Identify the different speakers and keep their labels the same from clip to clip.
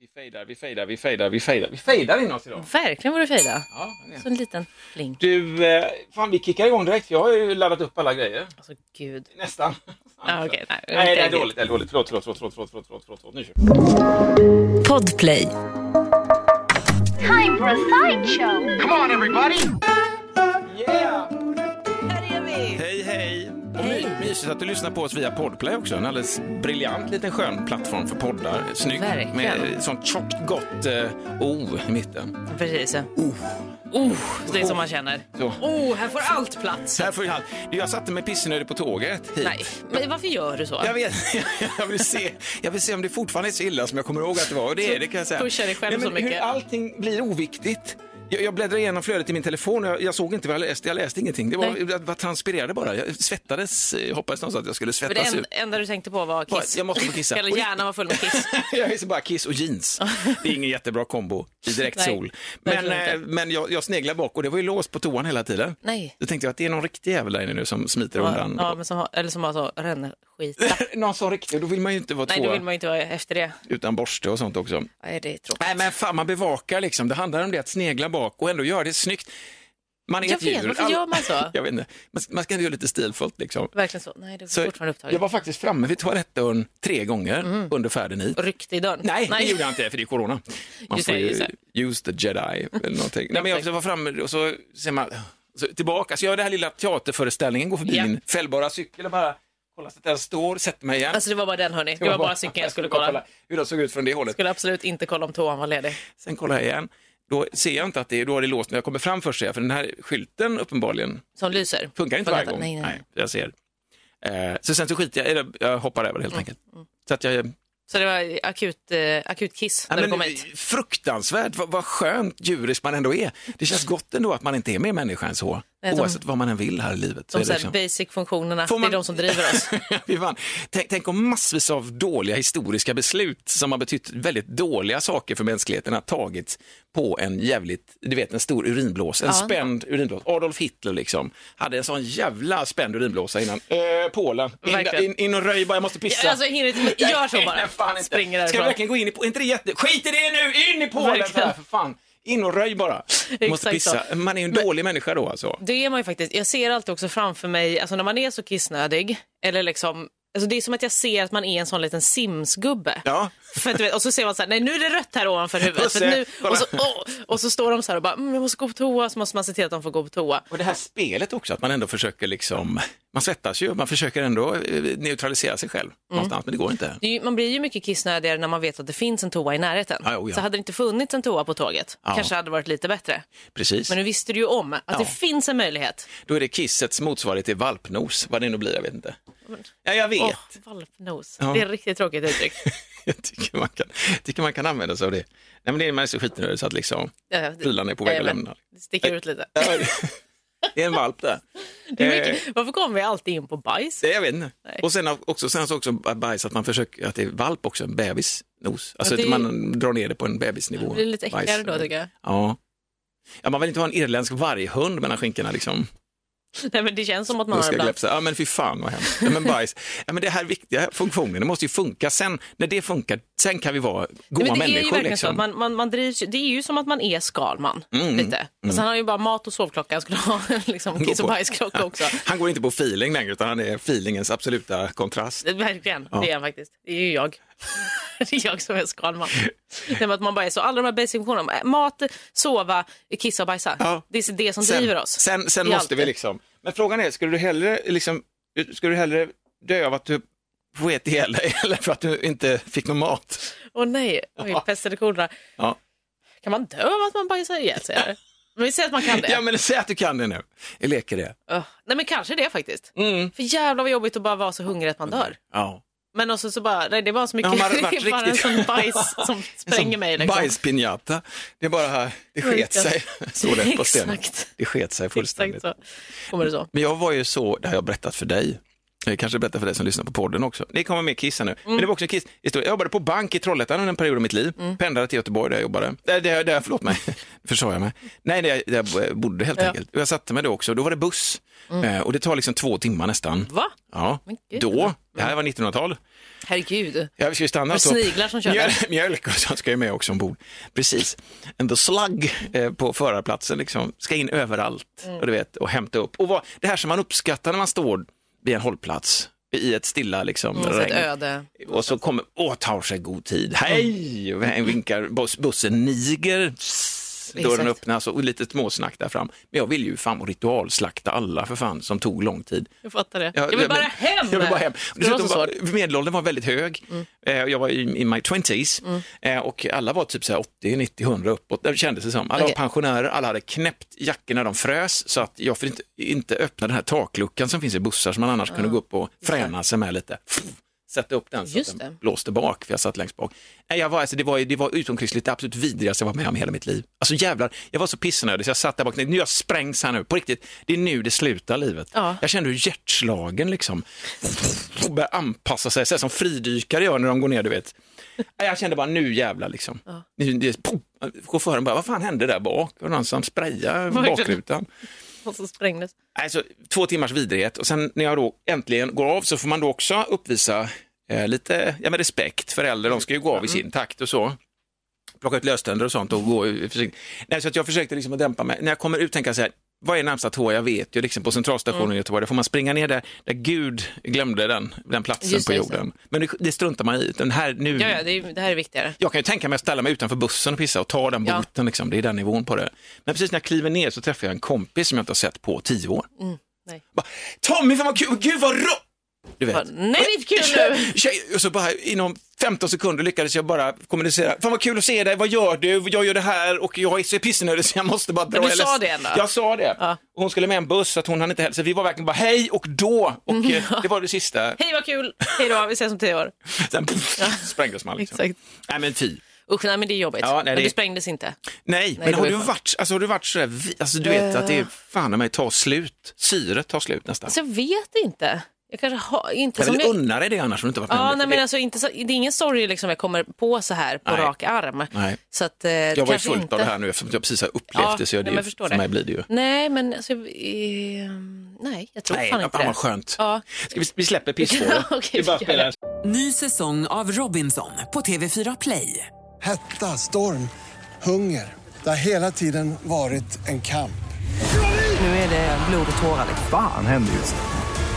Speaker 1: Vi fejdar, vi fejdar, vi fejdar, vi fejdar. Vi fejdar in oss idag.
Speaker 2: Verkligen borde fejda.
Speaker 1: Ja, det är-
Speaker 2: Så en liten fling.
Speaker 1: du, eh, fan vi kickar igång direkt. Jag har ju laddat upp alla grejer.
Speaker 2: Alltså gud.
Speaker 1: Nästan.
Speaker 2: Ah, okej, nej,
Speaker 1: nej, det är
Speaker 2: riktigt.
Speaker 1: dåligt. Det är dåligt. Förlåt, förlåt, förlåt, förlåt, förlåt, förlåt, förlåt, förlåt, förlåt. Nu kör vi.
Speaker 3: Podplay.
Speaker 4: Time for a sideshow.
Speaker 1: Hej, hej! Och my- Mysigt att du lyssnar på oss via Podplay också. En alldeles briljant liten skön plattform för poddar. Snygg
Speaker 2: Verkligen.
Speaker 1: med sånt tjockt gott eh, O i mitten.
Speaker 2: Precis. Oh. Oh, det är som man känner.
Speaker 1: Så.
Speaker 2: Oh, här får allt plats.
Speaker 1: Så här får jag, jag satte mig pissnödig på tåget hit.
Speaker 2: Nej, men varför gör du så?
Speaker 1: Typ. Jag vet, jag vill, se, jag vill se om det fortfarande är så illa som jag kommer ihåg att det var. Och det är det kan jag säga.
Speaker 2: Pushar dig själv
Speaker 1: Nej, men
Speaker 2: så mycket.
Speaker 1: Hur allting blir oviktigt. Jag, jag bläddrade igenom flödet i min telefon och jag, jag såg inte vad jag läste. Jag läste ingenting. Det var,
Speaker 2: Nej.
Speaker 1: jag, jag transpirerade bara. Jag svettades, eh, hoppades någonstans att jag skulle
Speaker 2: För det
Speaker 1: svettas
Speaker 2: en,
Speaker 1: ut.
Speaker 2: enda du tänkte på var kiss.
Speaker 1: Jag måste få kissa.
Speaker 2: Eller hjärnan var full med kiss.
Speaker 1: jag är så bara kiss och jeans. Det är ingen jättebra kombo i direkt
Speaker 2: Nej,
Speaker 1: sol. Men,
Speaker 2: verkligen inte.
Speaker 1: eh, men jag, jag sneglade bak och det var ju låst på toan hela tiden.
Speaker 2: Nej.
Speaker 1: Då tänkte jag att det är någon riktig jävel där inne nu som smiter
Speaker 2: Ja,
Speaker 1: undan.
Speaker 2: ja, men som, har- eller som har så rännskita.
Speaker 1: Någon som riktig, då vill man ju inte vara
Speaker 2: Nej, då
Speaker 1: tvåa
Speaker 2: vill man ju inte vara efter det.
Speaker 1: utan borste och sånt också.
Speaker 2: Nej, det är tråkigt.
Speaker 1: Nej men fan man bevakar liksom, det handlar om det att snegla bak och ändå göra det snyggt. Man är
Speaker 2: Jag
Speaker 1: ett
Speaker 2: vet,
Speaker 1: djur.
Speaker 2: varför
Speaker 1: Alla-
Speaker 2: gör man så?
Speaker 1: jag vet inte, man, man ska ändå göra lite stilfullt liksom.
Speaker 2: Verkligen så. Nej, du är
Speaker 1: Så
Speaker 2: fortfarande
Speaker 1: jag
Speaker 2: upptagen.
Speaker 1: var faktiskt framme vid toalettdörren tre gånger under färden hit.
Speaker 2: Och ryckte i dörren.
Speaker 1: Nej, det gjorde jag inte för det är corona. Man
Speaker 2: Just
Speaker 1: får
Speaker 2: det,
Speaker 1: ju
Speaker 2: just
Speaker 1: use the jedi eller någonting. Nej, men jag var framme och så ser man så tillbaka, så jag gör den här lilla teaterföreställningen, går förbi
Speaker 2: Ja.
Speaker 1: min fällbara cykel och bara kollar så att den står, sätter mig igen.
Speaker 2: Alltså det var bara den hörni. Det var bara cykeln jag skulle kolla.
Speaker 1: Hur de såg ut från det hållet.
Speaker 2: Skulle absolut inte kolla om toan var ledig.
Speaker 1: Sen kollar jag igen. Då ser jag inte att det är, då är det låst när jag kommer fram först, ser jag, för den här skylten uppenbarligen
Speaker 2: Som lyser.
Speaker 1: funkar inte varje gång.
Speaker 2: Nej, nej, nej.
Speaker 1: jag ser. Eh, så sen så skiter jag eller jag hoppar över
Speaker 2: Mm,
Speaker 1: helt enkelt. Så att jag, ja,
Speaker 2: Så det var akut, eh, akut kiss när du kom hit.
Speaker 1: fruktansvärt, vad, vad skönt djurisk man ändå är. Det känns gott ändå att man inte är mer människa än så,
Speaker 2: Nej, de-
Speaker 1: oavsett vad man än vill här i livet. Så är
Speaker 2: De
Speaker 1: det
Speaker 2: så
Speaker 1: liksom.
Speaker 2: här basic-funktionerna,
Speaker 1: Får man-
Speaker 2: det är de som driver oss.
Speaker 1: Vi vann. Tänk, tänk om massvis av dåliga historiska beslut som har betytt väldigt dåliga saker för mänskligheten har tagits på en jävligt, du vet en stor urinblås, en
Speaker 2: Ja.
Speaker 1: spänd urinblås. Adolf Hitler liksom, hade en sån jävla spänd urinblåsa innan. Eh, Polen, in,
Speaker 2: Verkligen.
Speaker 1: in, in och röj bara, jag måste pissa.
Speaker 2: Ja, alltså, jag hinner inte, gör så
Speaker 1: Nej, fan
Speaker 2: bara.
Speaker 1: inte.
Speaker 2: Springer
Speaker 1: Ska vi
Speaker 2: därifrån.
Speaker 1: verkligen gå in i, är inte det jätte, skit i det nu, in i Polen
Speaker 2: Verkligen.
Speaker 1: så här, för fan. In och röj bara. Jag måste
Speaker 2: Exakt så.
Speaker 1: pissa. Man är ju en dålig människa då alltså.
Speaker 2: Det är man ju faktiskt. Jag ser alltid också framför mig, alltså när man är så kissnödig, eller liksom, alltså det är som att jag ser att man är en sån liten simsgubbe.
Speaker 1: Ja.
Speaker 2: För att, du vet, och så ser man så här, nej nu är det rött här ovanför huvudet.
Speaker 1: Pusse,
Speaker 2: För att nu,
Speaker 1: kolla.
Speaker 2: och, så, åh, och så står de så här och bara, mm, jag måste gå på toa, så måste man se till att de får gå på toa.
Speaker 1: Och det här spelet också, att man ändå försöker liksom, man svettas ju, man försöker ändå eh, neutralisera sig
Speaker 2: Mm.
Speaker 1: själv någonstans, men det går inte.
Speaker 2: Det är ju, man blir ju mycket kissnödigare när man vet att det finns en toa i närheten.
Speaker 1: Ja, Ah, jo, ja.
Speaker 2: Så hade det inte funnits en toa på tåget,
Speaker 1: Ja.
Speaker 2: kanske hade det varit lite bättre.
Speaker 1: Precis.
Speaker 2: Men nu visste du ju om att
Speaker 1: Ja.
Speaker 2: det finns en möjlighet.
Speaker 1: Då är det kissets motsvarighet till valpnos, vad det nu blir, jag vet inte. Ja, jag vet.
Speaker 2: Åh, valpnos.
Speaker 1: Ja.
Speaker 2: Det är ett riktigt tråkigt uttryck.
Speaker 1: Jag tycker man, kan, tycker man kan använda sig av det. Nej, men det är, man är så skitnödig så att liksom,
Speaker 2: Ja, Eh, det-
Speaker 1: prylarna är på väg att
Speaker 2: Jajamän.
Speaker 1: lämna.
Speaker 2: Det sticker ut lite.
Speaker 1: Ja, Det är en valp där.
Speaker 2: Det är
Speaker 1: Eh,
Speaker 2: mycket, varför kommer vi alltid in på bajs?
Speaker 1: det- jag vet inte.
Speaker 2: Nej.
Speaker 1: Och sen har- också, sen så också bajs, att man försöker, att det är valp också, en bebisnos. Alltså
Speaker 2: Ja, det
Speaker 1: att
Speaker 2: är ju-
Speaker 1: man drar ner det på en bebisnivå.
Speaker 2: Det blir lite
Speaker 1: Bajs.
Speaker 2: äckligare då tycker jag.
Speaker 1: Ja. ja. Man vill inte ha en irländsk varghund mellan skinkorna liksom.
Speaker 2: Nej, men det känns som att
Speaker 1: Då
Speaker 2: man har
Speaker 1: ska jag
Speaker 2: ibland.
Speaker 1: gläfsa. Ja men fy fan vad hemskt. Ja, men bajs. Ja, men det här viktiga funktionen, det måste ju funka. Sen när det funkar, sen kan vi vara goda
Speaker 2: Men det är ju
Speaker 1: människor.
Speaker 2: verkligen så.
Speaker 1: Liksom.
Speaker 2: att Man, man, man drivs, ju- det är ju som att man är Skalman.
Speaker 1: Mm,
Speaker 2: Lite. Och sen har han ju bara mat och sovklocka. Han skulle ha en liksom, kiss och
Speaker 1: på.
Speaker 2: bajsklocka också.
Speaker 1: Han går inte på feeling längre utan han är feelingens absoluta kontrast.
Speaker 2: Det- Verkligen,
Speaker 1: Ja.
Speaker 2: det är han faktiskt. Det är ju jag. Det är jag som är Skalman. Nej, men att man bara är så. Alla de här basic-funktionerna, eh, mat, sova, kissa och bajsa.
Speaker 1: Ja.
Speaker 2: Det är det som
Speaker 1: Sen,
Speaker 2: driver oss.
Speaker 1: sen, sen
Speaker 2: Det är
Speaker 1: måste vi
Speaker 2: alltid.
Speaker 1: liksom. Men frågan är, skulle du hellre, liksom, skulle du hellre dö av att du sket ihjäl dig eller för att du inte fick någon mat?
Speaker 2: Åh nej, Oj,
Speaker 1: Ja.
Speaker 2: pest eller kolera.
Speaker 1: Ja.
Speaker 2: Kan man dö av att man bajsar ihjäl sig? eller? Men vi säger att man kan det.
Speaker 1: Ja men säg att du kan det nu. Jag leker det.
Speaker 2: Öh, Nej men kanske det faktiskt.
Speaker 1: Mm.
Speaker 2: För jävlar vad jobbigt att bara vara så hungrig att man dör.
Speaker 1: Ja.
Speaker 2: Men också så bara, nej, det är bara så mycket,
Speaker 1: Ja, man har
Speaker 2: det
Speaker 1: varit
Speaker 2: är bara en
Speaker 1: riktigt-
Speaker 2: sån bajs som spränger
Speaker 1: Som
Speaker 2: mig. Liksom.
Speaker 1: Bajspinjata. Det är bara här, det sket
Speaker 2: Verkligen.
Speaker 1: sig. Står det på stenen.
Speaker 2: Exakt,
Speaker 1: Det sket sig
Speaker 2: exakt
Speaker 1: fullständigt.
Speaker 2: så. Kommer det så.
Speaker 1: Men jag var ju så, det har jag berättat för dig, jag kanske berättar för dig som lyssnar på podden också. Det kommer mer kiss här nu.
Speaker 2: Mm.
Speaker 1: Men det var också en kisshistoria. Jag jobbade på bank i Trollhättan under en period av mitt liv. Pendlade till Göteborg där jag jobbade. Där, där, där, förlåt mig, försade jag mig. Nej, där, jag- där jag bodde helt
Speaker 2: Ja. Mm.
Speaker 1: enkelt. Och jag satte mig då också, då var det buss. Eh, och det tar liksom två timmar nästan.
Speaker 2: Va?
Speaker 1: Ja,
Speaker 2: Men gud. Mm.
Speaker 1: då, det här var 1900-tal.
Speaker 2: Herregud.
Speaker 1: Ja, vi ska ju stanna
Speaker 2: Med sniglar som kör
Speaker 1: Mjöl,
Speaker 2: där.
Speaker 1: mjölk och sånt ska ju med också ombord. Precis. And the slug eh, på förarplatsen liksom, ska in överallt
Speaker 2: Mm.
Speaker 1: och, du vet, och hämta upp. Och vad, det här som man uppskattar när man står vid en hållplats i ett stilla liksom,
Speaker 2: Mm, så ett
Speaker 1: regn.
Speaker 2: öde.
Speaker 1: Och så kommer, åh, tar sig god tid. Hej! Och vä- vinkar buss, bussen Niger. Sss, Dörren
Speaker 2: Exakt.
Speaker 1: öppnas och lite småsnack där fram. Men jag vill ju fan ritualslakta alla för fan som tog lång tid.
Speaker 2: Jag fattar det.
Speaker 1: Ja,
Speaker 2: jag vill
Speaker 1: men-
Speaker 2: bara hem!
Speaker 1: Jag vill bara hem.
Speaker 2: Ska det vara
Speaker 1: Dessutom
Speaker 2: så svårt? Mm.
Speaker 1: var, medelåldern var väldigt hög. Eh, Jag var i, i my 20s Eh, och alla var typ så här 80, 90, 100 uppåt. Det kändes det som. Alla
Speaker 2: Okej.
Speaker 1: var pensionärer, alla hade knäppt jackorna, de frös så att jag fick inte, inte öppna den här takluckan som finns i bussar som man annars kunde gå upp och fräna sig med lite. Pff, Sätta upp den så
Speaker 2: Ah, Just
Speaker 1: att den
Speaker 2: det.
Speaker 1: blåste bak, för jag satt längst bak. Nej, jag var, alltså, det var, ju- det var utomkristligt det absolut vidrigaste jag var med om i hela mitt liv. Alltså jävlar, jag var så pissnödig så jag satt där bak, nu jag sprängs här nu, på riktigt. Det är nu det slutar livet.
Speaker 2: Ja.
Speaker 1: Jag kände hur hjärtslagen liksom och börjar anpassa sig, så här som fridykare gör när de går ner, du vet. Nej, Jag kände bara nu jävlar liksom. Nu- det- pum! Chauffören bara, vad fan hände där bak? Var det någon som sprayade
Speaker 2: Verkligen.
Speaker 1: bakrutan?
Speaker 2: Och så sprängdes.
Speaker 1: Alltså, två timmars vidrighet och sen när jag då äntligen går av så får man då också uppvisa eh, lite ja, men respekt för äldre, de ska ju gå av i sin takt och så. Plocka ut löständer och sånt och gå försiktigt. Nej, så att jag försökte liksom att dämpa mig. När jag kommer ut tänker jag så här, vad är närmsta tå? Jag vet ju liksom på centralstationen
Speaker 2: Mm.
Speaker 1: i Göteborg, där får man springa ner där, där Gud glömde den, den platsen
Speaker 2: Just
Speaker 1: på
Speaker 2: det, just det.
Speaker 1: jorden. Men det, det struntar man i. Den här, nu,
Speaker 2: Ja, ja, det, är- det här är viktigare.
Speaker 1: jag kan ju tänka mig att ställa mig utanför bussen och pissa och ta den
Speaker 2: Ja.
Speaker 1: boten, liksom. det är den nivån på det. Men precis när jag kliver ner så träffar jag en kompis som jag inte har sett på tio år.
Speaker 2: Mm, Nej,
Speaker 1: Bara, Tommy, fan vad kul, gud vad rå... Du vet.
Speaker 2: Bara, Nej det är inte kul nu!
Speaker 1: Tjej, och så bara inom 15 sekunder lyckades jag bara kommunicera. Fan vad kul att se dig, vad gör du? Jag gör det här och jag är så pissnödig så jag måste bara dra.
Speaker 2: Men du
Speaker 1: Jag är
Speaker 2: sa
Speaker 1: ledsen.
Speaker 2: det ändå?
Speaker 1: Jag sa det.
Speaker 2: Ja.
Speaker 1: Och hon skulle med en buss så att hon hann inte hälsa. Vi var verkligen bara hej och då och
Speaker 2: Mm.
Speaker 1: eh, det var det sista.
Speaker 2: Hej vad kul! Hej då, vi ses om tio år.
Speaker 1: Sen pff, sprängdes man liksom.
Speaker 2: Exakt.
Speaker 1: Nej men fy.
Speaker 2: Usch, nej men det är jobbigt.
Speaker 1: Ja, nej,
Speaker 2: men
Speaker 1: det-
Speaker 2: du sprängdes inte.
Speaker 1: Nej,
Speaker 2: det
Speaker 1: men
Speaker 2: var
Speaker 1: har
Speaker 2: ju
Speaker 1: du,
Speaker 2: skönt.
Speaker 1: varit, alltså, har du varit sådär, vi- alltså du vet att det är fan i mig tar slut, syret tar slut nästan.
Speaker 2: Alltså jag vet inte. Jag kanske har, inte
Speaker 1: Jag
Speaker 2: som
Speaker 1: vill
Speaker 2: jag...
Speaker 1: unna dig det annars om du inte varit med om
Speaker 2: Ja,
Speaker 1: det,
Speaker 2: nej,
Speaker 1: för
Speaker 2: men
Speaker 1: det-
Speaker 2: alltså, inte så, det är ingen story liksom jag kommer på så här på
Speaker 1: Nej.
Speaker 2: rak arm.
Speaker 1: Nej.
Speaker 2: Så att, eh,
Speaker 1: Jag var ju
Speaker 2: kanske
Speaker 1: fullt
Speaker 2: inte.
Speaker 1: av det här nu eftersom jag precis har upplevt
Speaker 2: Ja,
Speaker 1: det. Så jag,
Speaker 2: nej,
Speaker 1: det,
Speaker 2: men jag
Speaker 1: är-
Speaker 2: förstår
Speaker 1: för
Speaker 2: det.
Speaker 1: mig blir det ju.
Speaker 2: Nej, men alltså, ehm, nej, jag tror
Speaker 1: Nej,
Speaker 2: fan inte
Speaker 1: fan
Speaker 2: det.
Speaker 1: vad skönt.
Speaker 2: Ja.
Speaker 1: Ska vi, vi släpper pissspåret.
Speaker 2: Okej,
Speaker 1: vi bara
Speaker 2: vi gör
Speaker 1: spelar.
Speaker 4: Ny säsong av Robinson på TV4 Play.
Speaker 5: Hetta, storm, hunger. Det har hela tiden varit en kamp.
Speaker 4: Nu är det blod och tårar. liksom.
Speaker 6: Fan händer just nu.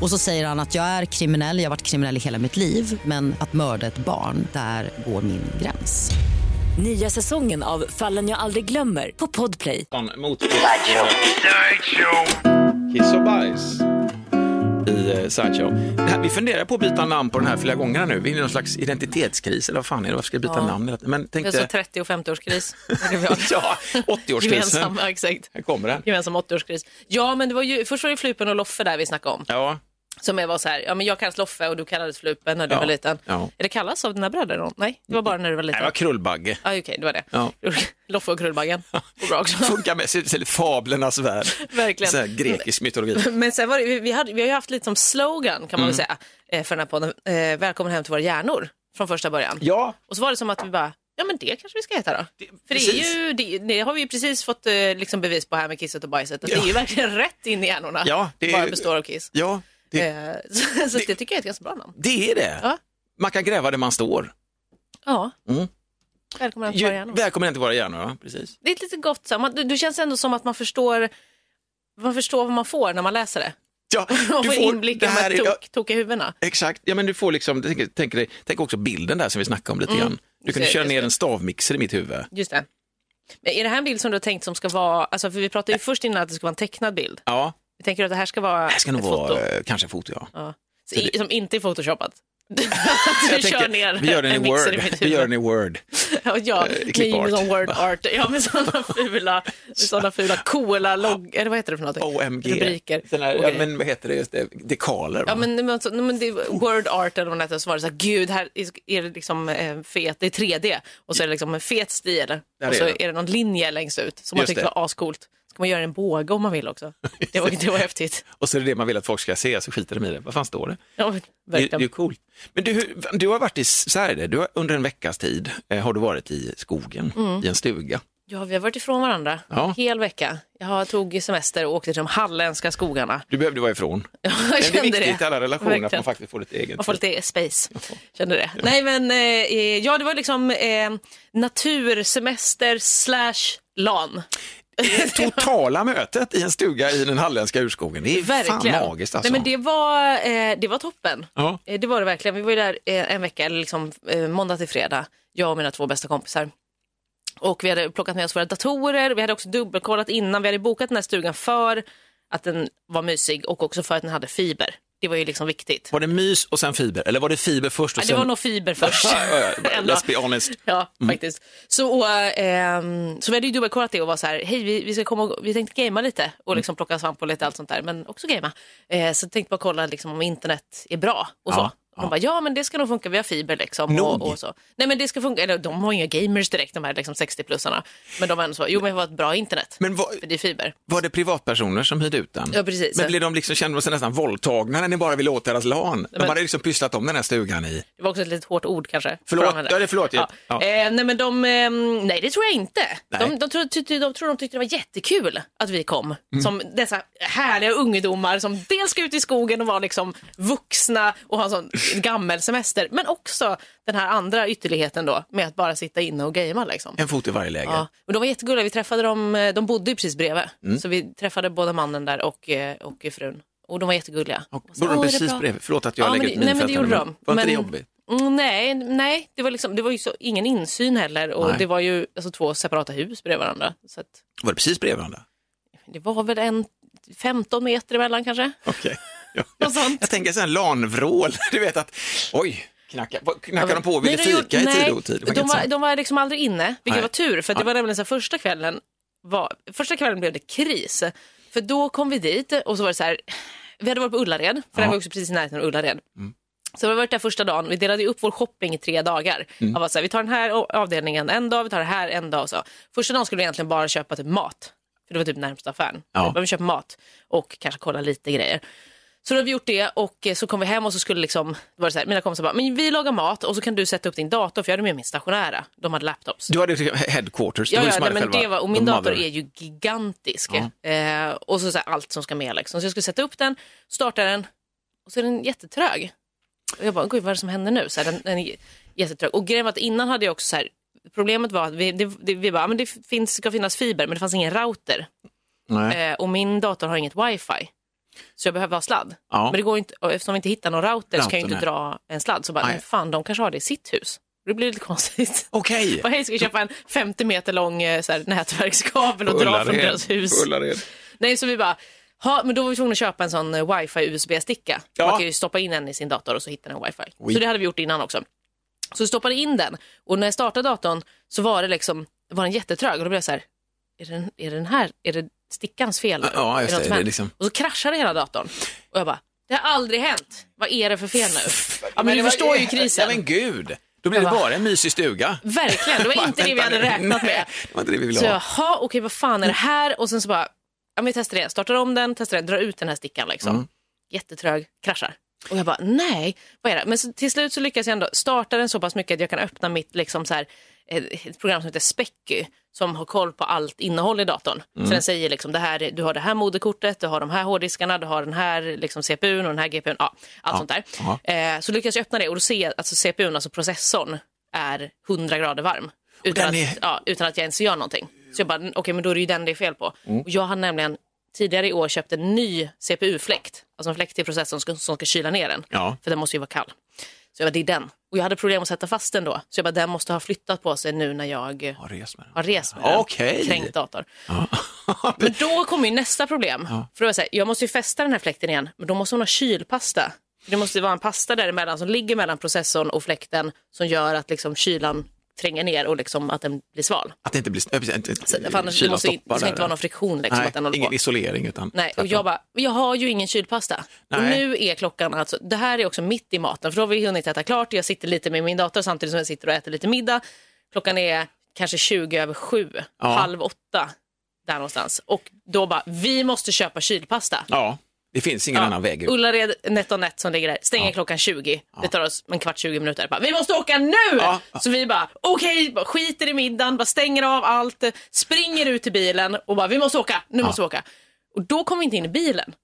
Speaker 7: Och så säger han att jag är kriminell, jag har varit kriminell i hela mitt liv men att mörda ett barn, där går min gräns.
Speaker 3: Nya säsongen av Fallen jag aldrig glömmer på Podplay.
Speaker 1: Fan, Mot Kiss och bajs i eh, Sideshow. Det här, vi funderar på att byta namn på den här flera gånger nu. Vi är i någon slags identitetskris eller vad fan är det? Varför ska vi byta namn? hela tiden? Men
Speaker 2: Vi har så
Speaker 1: tänkte...
Speaker 2: 30 och 50-årskris. Det är vi har.
Speaker 1: Ja, 80-årskrisen.
Speaker 2: Gemensamma, exakt.
Speaker 1: Här kommer den.
Speaker 2: Gemensam 80-årskris. Ja, men det var ju, först var det Flupen och Loffe där vi snackade om.
Speaker 1: Ja,
Speaker 2: Som jag var så här, ja men jag kallas Loffe och du kallades Flupen när du
Speaker 1: Ja,
Speaker 2: var liten.
Speaker 1: ja.
Speaker 2: Är det kallas av dina bröder någon? Nej, det var bara när du var
Speaker 1: Nej,
Speaker 2: liten.
Speaker 1: det var Krullbagge.
Speaker 2: Ja, okej, det var det.
Speaker 1: Ja.
Speaker 2: Loffe och Krullbaggen. Går bra också.
Speaker 1: Funkar med så- så- fablernas värld.
Speaker 2: Verkligen.
Speaker 1: Så här, grekisk mytologi.
Speaker 2: Men sen var det, vi- vi, hade, vi har ju haft lite som slogan kan man väl
Speaker 1: Mm.
Speaker 2: säga eh, för den här podden, eh, välkommen hem till våra hjärnor från första början.
Speaker 1: Ja,
Speaker 2: Och så var det som att vi bara, ja men det kanske vi ska heta då. för det,
Speaker 1: precis.
Speaker 2: är ju, det, det har vi ju precis fått eh, liksom bevis på här med kisset och bajset, att det är ju verkligen rätt in i hjärnorna.
Speaker 1: Ja, det är
Speaker 2: bara
Speaker 1: ju-
Speaker 2: består av kiss.
Speaker 1: ja det,
Speaker 2: Eh, så så det, tycker jag är ett ganska bra namn.
Speaker 1: det är det.
Speaker 2: Ja.
Speaker 1: Man kan gräva där man står.
Speaker 2: Ja.
Speaker 1: Mm.
Speaker 2: Välkommen hem till våra
Speaker 1: Ju,
Speaker 2: hjärnor.
Speaker 1: välkommen hem till våra hjärnor, ja. precis.
Speaker 2: Det är ett lite gott, så här, man, det, det känns ändå som att man förstår, man förstår vad man får när man läser det.
Speaker 1: Ja,
Speaker 2: Man får inblick i de här
Speaker 1: är- ja,
Speaker 2: tok, tokiga huvudena.
Speaker 1: Exakt, ja men du får liksom, tänk, tänk, dig, tänk också bilden där som vi snackade om lite grann. Du kunde
Speaker 2: Just Mm. det,
Speaker 1: köra
Speaker 2: just
Speaker 1: ner
Speaker 2: det.
Speaker 1: en stavmixer i mitt huvud.
Speaker 2: Just det. Men är det här en bild som du har tänkt som ska vara, alltså för vi pratade ju först innan att det ska vara en tecknad bild.
Speaker 1: Ja,
Speaker 2: Vi tänker att det här ska vara
Speaker 1: det här ska nog
Speaker 2: ett foto.
Speaker 1: vara eh, kanske foto ja.
Speaker 2: Ja. Så i, som inte är photoshopat. du kör ner
Speaker 1: vi gör den
Speaker 2: en
Speaker 1: i
Speaker 2: mixer
Speaker 1: Word.
Speaker 2: i mitt
Speaker 1: Vi
Speaker 2: huvud.
Speaker 1: gör den i Word.
Speaker 2: Ja, ja
Speaker 1: Eh,
Speaker 2: med
Speaker 1: clipart.
Speaker 2: sån word art. Ja, med sådana fula, med såna fula coola logg... Eller vad heter det för någonting?
Speaker 1: OMG.
Speaker 2: Rubriker.
Speaker 1: Sån här,
Speaker 2: och
Speaker 1: ja,
Speaker 2: grejer.
Speaker 1: men vad heter det just det? Dekaler.
Speaker 2: Ja
Speaker 1: va?
Speaker 2: men, men, så- men det, word art eller vad det heter, så var det så här, gud här är- är det liksom eh, fet, det är 3D och så är det liksom en fet stil
Speaker 1: Där
Speaker 2: och
Speaker 1: är
Speaker 2: så
Speaker 1: den.
Speaker 2: är det någon linje längst ut som man
Speaker 1: Just
Speaker 2: tyckte
Speaker 1: det.
Speaker 2: var ascoolt. Så kan man göra en båge om man vill också. Det var, det var häftigt.
Speaker 1: Och så är det det man vill att folk ska se, så skiter de i det. Vad fan står det?
Speaker 2: Ja, men
Speaker 1: Det, det är ju
Speaker 2: verkligen.
Speaker 1: coolt. Men du, hur- du har varit i Sverige, du har, under en veckas tid eh, har du varit i skogen,
Speaker 2: Mm.
Speaker 1: i en stuga.
Speaker 2: Ja, vi har varit ifrån varandra
Speaker 1: Ja.
Speaker 2: en hel vecka. Jag har- tog semester och åkte till de halländska skogarna.
Speaker 1: Du behövde vara ifrån.
Speaker 2: Jag
Speaker 1: Men det är
Speaker 2: kände
Speaker 1: viktigt i alla relationer att man
Speaker 2: Verkligen.
Speaker 1: faktiskt får lite eget.
Speaker 2: Man får lite space, kände det. Nej men, eh, ja det var liksom eh, natursemester slash LAN.
Speaker 1: Det totala mötet i en stuga i den halländska urskogen, det är
Speaker 2: Verkligen.
Speaker 1: fan magiskt alltså.
Speaker 2: Nej, men det, var, eh, det var toppen.
Speaker 1: Ja.
Speaker 2: Eh, Det var det verkligen. Vi var ju där eh, en vecka, eller liksom, eh, måndag till fredag, jag och mina två bästa kompisar. Och vi hade plockat med oss våra datorer, vi hade också dubbelkollat innan, vi hade bokat den här stugan för att den var mysig och också för att den hade fiber. Det var ju liksom viktigt.
Speaker 1: Var det mys och sen fiber? Eller var det fiber först och
Speaker 2: Ja, det
Speaker 1: sen...
Speaker 2: var nog fiber först.
Speaker 1: Ja, ja, ja.
Speaker 2: Ändå.
Speaker 1: Let's be honest. Mm.
Speaker 2: Ja, faktiskt. Så, och, ehm, så vi hade ju dubbelkollat det och var så här, hej vi, vi ska komma och, vi tänkte gamea lite och
Speaker 1: Mm.
Speaker 2: liksom plocka svamp och lite allt sånt där, men också gamea. Eh, så tänkte bara kolla liksom, om internet är bra och så.
Speaker 1: Ja,
Speaker 2: Och de bara, ja men det ska nog funka, vi har fiber liksom.
Speaker 1: Nog.
Speaker 2: Och, och så. Nej men det ska funka, eller de har ju inga gamers direkt de här liksom 60-plussarna. Men de var ändå så, jo men vi har ett bra internet.
Speaker 1: Men vad-
Speaker 2: För det är fiber.
Speaker 1: Var det privatpersoner som hyrde ut den?
Speaker 2: Ja, precis.
Speaker 1: Men blev de liksom, kände de sig nästan våldtagna när ni bara ville åt deras lan? De
Speaker 2: men-
Speaker 1: hade liksom pysslat om den här stugan i...
Speaker 2: Det var också ett lite hårt ord kanske.
Speaker 1: Förlåt.
Speaker 2: För de hade-
Speaker 1: Ja, det är förlåt,
Speaker 2: Ja.
Speaker 1: ja.
Speaker 2: Eh, nej, men de, ehm, nej, det tror jag inte.
Speaker 1: Nej.
Speaker 2: De, de, tror, tyckte, de tror de tyckte det var jättekul att vi kom.
Speaker 1: Mm.
Speaker 2: Som dessa härliga ungdomar som dels ska ut i skogen och vara liksom vuxna och ha en sån gammelsemester. Men också den här andra ytterligheten då med att bara sitta inne och gamea. Liksom.
Speaker 1: En fot i varje läger.
Speaker 2: Ja. Men de var jättegulliga. Vi träffade dem, eh, de bodde ju precis bredvid.
Speaker 1: Mm.
Speaker 2: Så vi träffade både mannen där och, eh, och frun. Och de var jättegulliga.
Speaker 1: Och
Speaker 2: Och så,
Speaker 1: Bor de
Speaker 2: "Åh, är det
Speaker 1: precis
Speaker 2: bra?"
Speaker 1: bredvid? Förlåt att jag
Speaker 2: Ja, men
Speaker 1: lägger
Speaker 2: det-
Speaker 1: ett
Speaker 2: nej, men
Speaker 1: minfält
Speaker 2: det
Speaker 1: här nu,
Speaker 2: gjorde
Speaker 1: men
Speaker 2: de.
Speaker 1: Var inte det
Speaker 2: Men-
Speaker 1: jobbigt?
Speaker 2: Mm, nej, nej det, var liksom, det var ju så, ingen insyn heller och
Speaker 1: Nej.
Speaker 2: det var ju alltså, två separata hus bredvid varandra. Så att,
Speaker 1: Var det precis bredvid varandra?
Speaker 2: det var väl en 15 meter emellan kanske.
Speaker 1: Okej. Ja.
Speaker 2: Något sånt.
Speaker 1: Jag tänker sån lanvrål, du vet att, oj, knackar, knackar de på och ville
Speaker 2: Nej, de gjorde-
Speaker 1: fika i tid
Speaker 2: nej,
Speaker 1: och otid? Det
Speaker 2: De
Speaker 1: inget
Speaker 2: var,
Speaker 1: sånt.
Speaker 2: de var liksom aldrig inne, vilket
Speaker 1: Nej.
Speaker 2: var tur för att det
Speaker 1: Ja.
Speaker 2: var nämligen så här, första kvällen var, första kvällen blev det kris. För då kom vi dit och så var det så här, vi hade varit på Ullared, för det här var också precis i närheten av Ullared.
Speaker 1: Mm.
Speaker 2: Så vi har varit där första dagen, vi delade ju upp vår shopping i tre dagar.
Speaker 1: Mm.
Speaker 2: Jag var så här, vi tar den här o- avdelningen en dag, vi tar det här en dag och så. Första dagen skulle vi egentligen bara köpa typ mat, för det var typ närmsta affären.
Speaker 1: Ja.
Speaker 2: Vi bara, vi köper mat och kanske kolla lite grejer. Så då har vi gjort det och eh, så kom vi hem och så skulle liksom, då var det så här, mina kompisar bara, men vi lagar mat och så kan du sätta upp din dator för jag hade med min stationära, de hade laptops.
Speaker 1: Du hade ju headquarters,
Speaker 2: Ja,
Speaker 1: var
Speaker 2: ja,
Speaker 1: ju som
Speaker 2: nej,
Speaker 1: hade
Speaker 2: men
Speaker 1: själva
Speaker 2: det var, och min
Speaker 1: the
Speaker 2: dator
Speaker 1: mother.
Speaker 2: är ju gigantisk. Eh, och så, så här, allt som ska med liksom. Så jag skulle sätta upp den, starta den och så är den jättetrög. Och jag bara, gud vad är det som händer nu? Så här, den, den är jättetrög. Och grejen var att innan hade jag också så här, problemet var att vi, det, det, vi bara, "Ja, men det finns, ska finnas fiber men det fanns ingen router.
Speaker 1: Nej.
Speaker 2: Eh, och min dator har inget wifi. Så jag behöver ha sladd.
Speaker 1: Ja.
Speaker 2: Men det går inte, och eftersom vi inte hittar någon router så kan jag ju inte
Speaker 1: Router,
Speaker 2: dra en sladd. Så bara,
Speaker 1: Nej.
Speaker 2: men fan de kanske har det i sitt hus. Det blir lite konstigt.
Speaker 1: Okej.
Speaker 2: Bara, hej, ska vi köpa en 50 meter lång eh, så här, nätverkskabel och dra från
Speaker 1: Ullared.
Speaker 2: deras hus?
Speaker 1: Ullared.
Speaker 2: Nej, så vi bara, ha, men då var vi tvungna att köpa en sån eh, wifi USB-sticka.
Speaker 1: Ja.
Speaker 2: Man kan ju stoppa in en i sin dator och så hittar den wifi.
Speaker 1: Oui.
Speaker 2: Så det hade vi gjort innan också. Så vi stoppade in den och när jag startade datorn så var det liksom, var den jättetrög och då blev jag så här, är det, den- är det den här, är det stickans fel? nu?
Speaker 1: Ja, just
Speaker 2: något
Speaker 1: det,
Speaker 2: som
Speaker 1: det är
Speaker 2: hänt?
Speaker 1: liksom-
Speaker 2: Och så kraschade hela datorn och jag bara, det har aldrig hänt. Vad är det för fel nu? Ja, men
Speaker 1: det
Speaker 2: du
Speaker 1: var-
Speaker 2: förstår ju krisen.
Speaker 1: Ja, men gud. Då blir det
Speaker 2: Jag bara-
Speaker 1: bara en mysig stuga.
Speaker 2: Verkligen, det var inte det vi hade
Speaker 1: Vänta nu.
Speaker 2: räknat med.
Speaker 1: Nej, Det var inte det vi ville
Speaker 2: Så
Speaker 1: ha.
Speaker 2: jag, jaha, okej, vad fan är det här? Och sen så bara, ja, men vi testar det. Startar om den, testar den, drar ut den här stickan liksom.
Speaker 1: Mm.
Speaker 2: Jättetrög, kraschar. Och jag bara, nej, vad är det? Men så, till slut så lyckas jag ändå starta den så pass mycket att jag kan öppna mitt liksom, så här, eh, ett program som heter Specky som har koll på allt innehåll i datorn.
Speaker 1: Mm.
Speaker 2: Så den säger liksom, det här, du har det här moderkortet, du har de här hårddiskarna, du har den här liksom, CPUn och den här GPUn, ja, allt sånt där. Eh, så lyckas jag öppna det och då ser jag att alltså, CPUn, alltså processorn, är 100 grader varm. Utan,
Speaker 1: den är-
Speaker 2: att, ja, utan att jag ens gör någonting. Så jag bara, okej men då är det ju den det är fel på.
Speaker 1: Mm.
Speaker 2: Och jag har nämligen tidigare i år köpt en ny CPU-fläkt. Alltså en fläkt till processorn som ska, som ska kyla ner den.
Speaker 1: Ja.
Speaker 2: För den måste ju vara kall. Så jag bara, det är den. Och jag hade problem att sätta fast den då. Så jag bara, den måste ha flyttat på sig nu när jag
Speaker 1: Ja, res med den.
Speaker 2: har rest med den.
Speaker 1: Okej.
Speaker 2: Kränkt dator. Men då kommer ju nästa problem. För då var jag, så här, jag måste ju fästa den här fläkten igen, men då måste hon ha kylpasta. Det måste ju vara en pasta däremellan som ligger mellan processorn och fläkten som gör att liksom kylan tränger ner och liksom att den blir sval.
Speaker 1: Att det inte blir... ja, precis, inte-
Speaker 2: Så- För annars Alltså, det
Speaker 1: kylan
Speaker 2: måste, ju-
Speaker 1: stoppar
Speaker 2: det ska
Speaker 1: där.
Speaker 2: inte vara någon friktion liksom,
Speaker 1: Nej,
Speaker 2: att den håller
Speaker 1: ingen
Speaker 2: på.
Speaker 1: isolering utan...
Speaker 2: Nej, och
Speaker 1: tvärtom.
Speaker 2: jag bara, jag har ju ingen kylpasta. Och
Speaker 1: Nej.
Speaker 2: nu är klockan alltså, det här är också mitt i maten, för då har vi hunnit äta klart och jag sitter lite med min dator samtidigt som jag sitter och äter lite middag. Klockan är kanske 20 över sju,
Speaker 1: Ja.
Speaker 2: halv åtta, där någonstans. Och då bara, vi måste köpa kylpasta.
Speaker 1: Ja, det finns ingen annan väg ut.
Speaker 2: Ullared NetOnNet som ligger där stänger klockan 20. Det tar oss en kvart, 20 minuter. Bara, vi måste åka nu!
Speaker 1: Ja.
Speaker 2: Så vi bara, okej, bara skiter i middagen, bara stänger av allt, springer ut till bilen och bara, vi måste åka, nu måste vi åka. Och då kom vi inte in i bilen.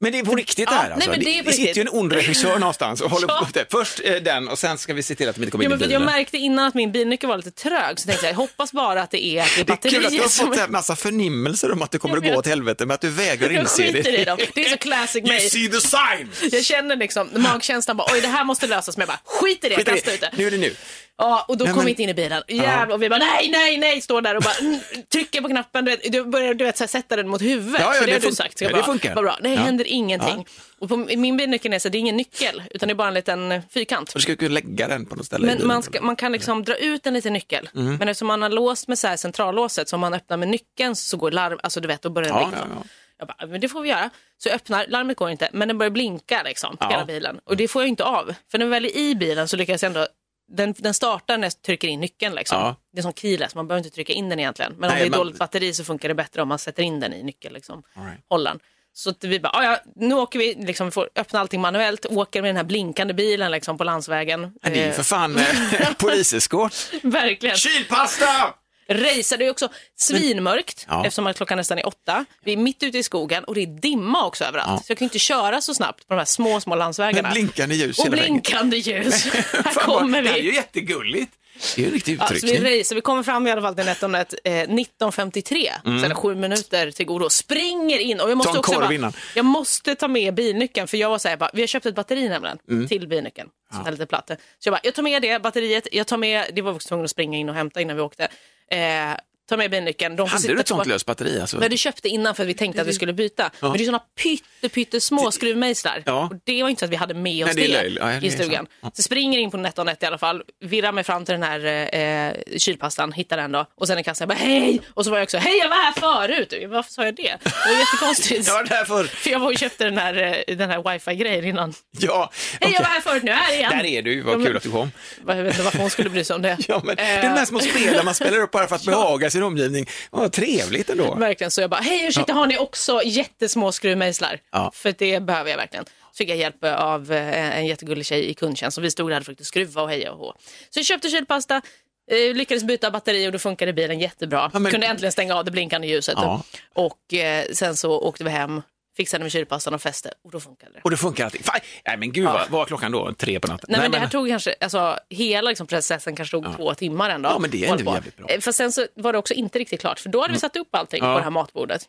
Speaker 1: Men det är på riktigt det
Speaker 2: Ja,
Speaker 1: här
Speaker 2: nej,
Speaker 1: alltså.
Speaker 2: men det är på
Speaker 1: sitter ju en
Speaker 2: riktigt.
Speaker 1: ond regissör någonstans och håller
Speaker 2: Ja.
Speaker 1: på det. Först eh, den och sen ska vi se till att de inte kommer
Speaker 2: Ja,
Speaker 1: in i
Speaker 2: men för att jag
Speaker 1: bilen.
Speaker 2: märkte innan att min bilnyckel var lite trög, så tänkte jag, jag hoppas bara att det är, att det är
Speaker 1: Det är kul att du
Speaker 2: batterier
Speaker 1: har
Speaker 2: som...
Speaker 1: fått en massa förnimmelser om att det kommer att
Speaker 2: Jag
Speaker 1: gå
Speaker 2: vet.
Speaker 1: åt helvete, men att du vägrar
Speaker 2: Jag
Speaker 1: inse det.
Speaker 2: skiter i dem. Det är så classic
Speaker 1: You
Speaker 2: mig.
Speaker 1: see the sign!
Speaker 2: Jag känner liksom magkänslan bara, oj det här måste lösas, men jag bara skiter i det,
Speaker 1: Skit i
Speaker 2: kasta ut det.
Speaker 1: det. Nu är det nu.
Speaker 2: Ja, och då
Speaker 1: Nej,
Speaker 2: kom
Speaker 1: men-
Speaker 2: vi inte in i bilen. Jävlar, och vi bara nej, nej, nej, står där och bara mm, trycker på knappen. Du, vet, du börjar du vet, så här, sätta den mot huvudet.
Speaker 1: Ja, ja, det
Speaker 2: för det, har
Speaker 1: fun-
Speaker 2: du sagt.
Speaker 1: ja,
Speaker 2: Jag
Speaker 1: det
Speaker 2: bara,
Speaker 1: funkar.
Speaker 2: Vad bra, det
Speaker 1: Ja.
Speaker 2: händer ingenting. Och på min bilnyckel är så här, det är ingen nyckel, utan det är bara en liten eh, fyrkant.
Speaker 1: Du ska kunna lägga den på något ställe. i
Speaker 2: Men
Speaker 1: bilen.
Speaker 2: man, ska, man kan liksom dra ut en liten nyckel.
Speaker 1: Mm.
Speaker 2: Men eftersom man har låst med så här centrallåset, så om man öppnar med nyckeln så går larm, alltså du vet, då börjar den
Speaker 1: Ja,
Speaker 2: liksom.
Speaker 1: ja, ja.
Speaker 2: Jag bara, men det får vi göra. Så jag öppnar, larmet går inte, men den börjar blinka liksom,
Speaker 1: Ja.
Speaker 2: hela bilen. Och det får jag ju inte av. För när vi väl är i bilen så lyckas jag ändå, den, den startar när jag trycker in nyckeln. Liksom.
Speaker 1: Ja.
Speaker 2: Det är som keyless, man behöver inte trycka in den egentligen. Men
Speaker 1: Nej,
Speaker 2: om det
Speaker 1: men-
Speaker 2: är dåligt batteri så funkar det bättre om man sätter in den i nyckeln. Liksom.
Speaker 1: All right.
Speaker 2: Hållaren. Så att vi bara, "Ah, ja, nu åker vi, liksom, vi får öppna allting manuellt, åker med den här blinkande bilen liksom, på landsvägen.
Speaker 1: Men Det är ju
Speaker 2: Eh,
Speaker 1: för fan eh, poliseskort.
Speaker 2: Verkligen.
Speaker 1: Kylpasta!
Speaker 2: Racer, det är också svinmörkt
Speaker 1: Ja.
Speaker 2: eftersom att klockan nästan är åtta. Vi är mitt ute i skogen och det är dimma också överallt.
Speaker 1: Ja.
Speaker 2: Så jag kan ju inte köra så snabbt på de här små, små landsvägarna.
Speaker 1: Med blinkande ljus
Speaker 2: Och
Speaker 1: hela vägen.
Speaker 2: blinkande ljus. Här
Speaker 1: Fan, vad-
Speaker 2: kommer
Speaker 1: Det här är ju
Speaker 2: vi.
Speaker 1: jättegulligt. Det är ju en riktig
Speaker 2: Ja, så
Speaker 1: utryckning.
Speaker 2: vi racer. Vi kommer fram i alla fall till Netonnet eh, 19.53. Sen är sju minuter till godo. Springer in. Och jag måste
Speaker 1: Mm. en
Speaker 2: också
Speaker 1: korv
Speaker 2: bara,
Speaker 1: innan.
Speaker 2: Jag måste ta med bilnyckeln. För jag var så här, bara, vi har köpt ett batteri nämligen.
Speaker 1: Mm.
Speaker 2: Till bilnyckeln. Sånt här lite platt. Så jag bara, jag tar med det batteriet. Jag tar med, det var vi också tvungna att springa in och hämta innan vi åkte. Eh, ta med bilnyckeln. De får
Speaker 1: Hade
Speaker 2: sitta
Speaker 1: du ett sånt
Speaker 2: kvar-
Speaker 1: löst batteri? Alltså?
Speaker 2: men du köpte innan för att vi tänkte att vi skulle byta. Men det är såna pytte, pytte små skruvmejslar.
Speaker 1: Ja.
Speaker 2: Och det var inte så att vi hade med oss
Speaker 1: Nej, det är
Speaker 2: det,
Speaker 1: löjligt. Ja, det är
Speaker 2: i stugan.
Speaker 1: sant.
Speaker 2: Så springer in på NetOnNet i alla fall, virrar mig fram till den här eh, kylpastan, hittar den då. Och sen är kassan jag bara hej! Och så var jag också hej jag var här förut. Varför sa jag det? Det var jättekonstigt.
Speaker 1: Ja, därför.
Speaker 2: För jag var och köpte den här, eh, den här wifi-grejen innan.
Speaker 1: Ja,
Speaker 2: Hej jag
Speaker 1: okej.
Speaker 2: var här förut, nu är jag här igen.
Speaker 1: Där är du, vad
Speaker 2: Ja, men-
Speaker 1: kul att du kom.
Speaker 2: Jag vet inte varför hon skulle bry sig om det.
Speaker 1: Ja, men det är
Speaker 2: Eh,
Speaker 1: de här små spelen man spelar upp bara för att behaga sin omgivning. Vad trevligt ändå.
Speaker 2: Verkligen, så jag bara, hej ursäkta, har ni också jättesmå skruvmejslar?
Speaker 1: Ja.
Speaker 2: För det behöver jag verkligen. Så fick jag hjälp av eh, en jättegullig tjej i kundtjänst som vi stod där och försökte skruva och heja och hå. Så jag köpte kylpasta, eh, lyckades byta batteri och då funkade bilen jättebra.
Speaker 1: Ja, men-
Speaker 2: Kunde äntligen stänga av det blinkande ljuset.
Speaker 1: Ja.
Speaker 2: Och eh, sen så åkte vi hem, fixade med kylpastan och fäste och då funkade det.
Speaker 1: Och det funkar allting. Fan, nej men gud, vad vad var klockan då? Tre på natten?
Speaker 2: Nej, men det här tog kanske, alltså, hela liksom processen kanske tog två timmar ändå.
Speaker 1: Ja, men det är ändå
Speaker 2: Håll på.
Speaker 1: jävligt bra. Mm.
Speaker 2: Eh, Fast sen så var det också inte riktigt klart, för då hade vi satt upp allting
Speaker 1: Ja.
Speaker 2: på det här matbordet.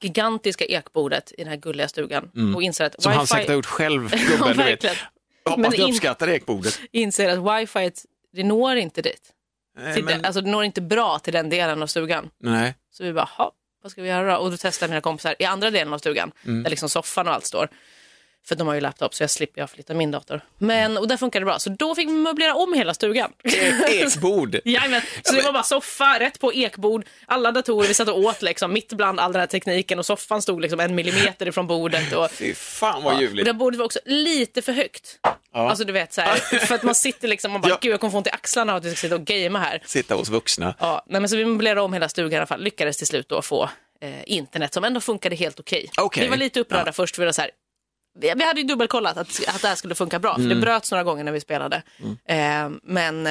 Speaker 2: Gigantiska ekbordet i den här gulliga stugan. Och inser att
Speaker 1: Mm. Som han
Speaker 2: wifi,
Speaker 1: säkert har gjort själv, gubben. du vet.
Speaker 2: verkligen. Men
Speaker 1: Hoppas du
Speaker 2: in-
Speaker 1: uppskattar ekbordet.
Speaker 2: inser att wifi, det når inte dit.
Speaker 1: Nej,
Speaker 2: Till
Speaker 1: Eh, men-
Speaker 2: det, alltså det når inte bra till den delen av stugan.
Speaker 1: Nej.
Speaker 2: Så vi bara, "Ha, vad ska vi göra då? Och då testar mina kompisar i andra delen av stugan,
Speaker 1: Mm.
Speaker 2: där liksom soffan och allt står. För de har ju laptop så jag slipper jag flytta min dator. Men, och där funkar det bra. Så då fick vi möblera om hela stugan.
Speaker 1: E- Ekbord.
Speaker 2: Jajamän, så det var bara soffa, rätt på ekbord, alla datorer vi satt och åt liksom, mitt bland all den här tekniken och soffan stod liksom en millimeter ifrån bordet. Och,
Speaker 1: Fy fan vad
Speaker 2: och
Speaker 1: ljuvligt.
Speaker 2: det bordet var också lite för högt. Alltså du vet så här, för att man sitter liksom och bara,
Speaker 1: Ja.
Speaker 2: gud jag kommer få ont i axlarna av att vi ska sitta och gamea här.
Speaker 1: Sitta hos vuxna.
Speaker 2: Ja, nej, men så vi möblerade om hela stugan i alla fall, lyckades till slut då få eh, internet som ändå funkade helt okej.
Speaker 1: Okej.
Speaker 2: Vi var lite upprörda först, för det var så här, vi vi hade ju dubbelkollat att, att det här skulle funka bra, för det bröts några gånger när vi spelade. Eh, men eh,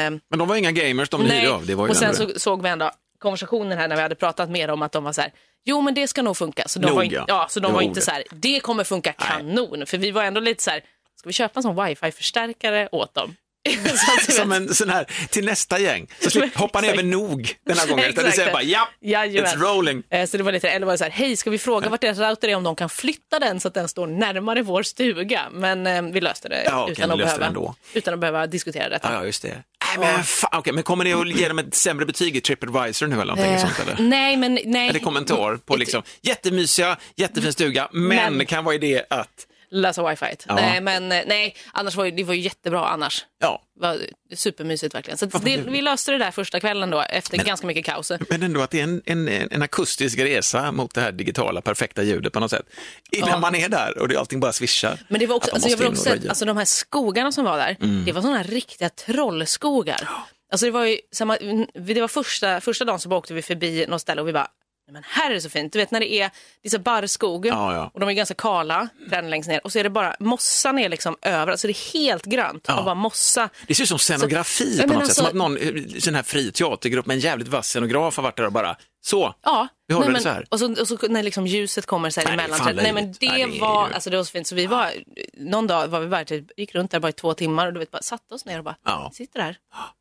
Speaker 1: Mm. Men de var inga gamers, de hyrde av. Det var ju
Speaker 2: och sen
Speaker 1: ändå
Speaker 2: så
Speaker 1: det.
Speaker 2: såg vi ändå konversationen här när vi hade pratat med dem att de var så här, jo men det ska nog funka. Så de
Speaker 1: Nog,
Speaker 2: var, inte,
Speaker 1: ja.
Speaker 2: ja, så
Speaker 1: Det
Speaker 2: de
Speaker 1: var
Speaker 2: var inte
Speaker 1: ordet.
Speaker 2: så här, det kommer funka kanon. För vi var ändå lite så här, ska vi köpa en sån wifi-förstärkare åt dem? så att, du
Speaker 1: Som
Speaker 2: vet.
Speaker 1: en sån här, till nästa gäng. Så slip, hoppar ni över nog den här gången. Utan du
Speaker 2: Exakt.
Speaker 1: säger bara ja,
Speaker 2: Jajamän.
Speaker 1: it's rolling.
Speaker 2: Eh, Så det var lite, eller var det så här, hej ska vi fråga vart deras router är om de kan flytta den så att den står närmare vår stuga? Men eh, vi löste det,
Speaker 1: Ja, okej,
Speaker 2: utan,
Speaker 1: ni
Speaker 2: att
Speaker 1: löste det
Speaker 2: behöva,
Speaker 1: ändå.
Speaker 2: utan att behöva diskutera detta.
Speaker 1: Ja, ja, just det. Nej, men, fan, okej, men kommer ni att ge dem ett sämre betyg i TripAdvisor nu eller någonting sånt eller?
Speaker 2: Eh, Nej, men nej.
Speaker 1: Eller kommentar på liksom, jättemysiga, jättefin stuga, men,
Speaker 2: Men-
Speaker 1: kan vara idé att...
Speaker 2: lösa wifi.
Speaker 1: Ja.
Speaker 2: Nej, men eh, nej, annars var ju, det var ju jättebra annars.
Speaker 1: Ja,
Speaker 2: Det var supermysigt verkligen. Så att det, vi löste det där första kvällen då efter ganska mycket kaos.
Speaker 1: men ändå att det är en, en, en akustisk resa mot det här digitala perfekta ljudet på något sätt. Innan
Speaker 2: Ja.
Speaker 1: man är där och det, allting bara svischar.
Speaker 2: Men det var också,
Speaker 1: Att de
Speaker 2: alltså,
Speaker 1: måste
Speaker 2: jag vill
Speaker 1: in
Speaker 2: också
Speaker 1: och
Speaker 2: säga att
Speaker 1: röja.
Speaker 2: alltså, de här skogarna som var där,
Speaker 1: Mm.
Speaker 2: det var sådana riktiga trollskogar. Alltså det var ju samma, det var första, första dagen så bara åkte vi förbi något ställe och vi bara, "Nej, men här är det så fint. Du vet när det är, det är så barrskog
Speaker 1: Ja, ja.
Speaker 2: och de är ganska kala, träden längst ner och så är det bara, mossan är liksom överallt, så det är helt grönt
Speaker 1: Ja.
Speaker 2: och bara mossa.
Speaker 1: Det ser ut som scenografi
Speaker 2: Så-
Speaker 1: på
Speaker 2: men
Speaker 1: något sätt.
Speaker 2: alltså-
Speaker 1: Som att någon eh, sån här fri teatergrupp med en jävligt vass scenograf har varit där och bara så.
Speaker 2: Ja,
Speaker 1: Vi håller
Speaker 2: nej,
Speaker 1: det
Speaker 2: men,
Speaker 1: så här.
Speaker 2: Och så, och så när liksom ljuset kommer så här
Speaker 1: Nej, det är
Speaker 2: emellan.
Speaker 1: fan
Speaker 2: träd- Nej, men
Speaker 1: löjligt.
Speaker 2: det,
Speaker 1: Nej, det är
Speaker 2: var,
Speaker 1: ju-
Speaker 2: alltså, det var så fint. Så vi var, någon dag var vi bara, typ, gick runt där bara i två timmar och du vet, bara satte oss ner och bara,
Speaker 1: Ja.
Speaker 2: sitter där.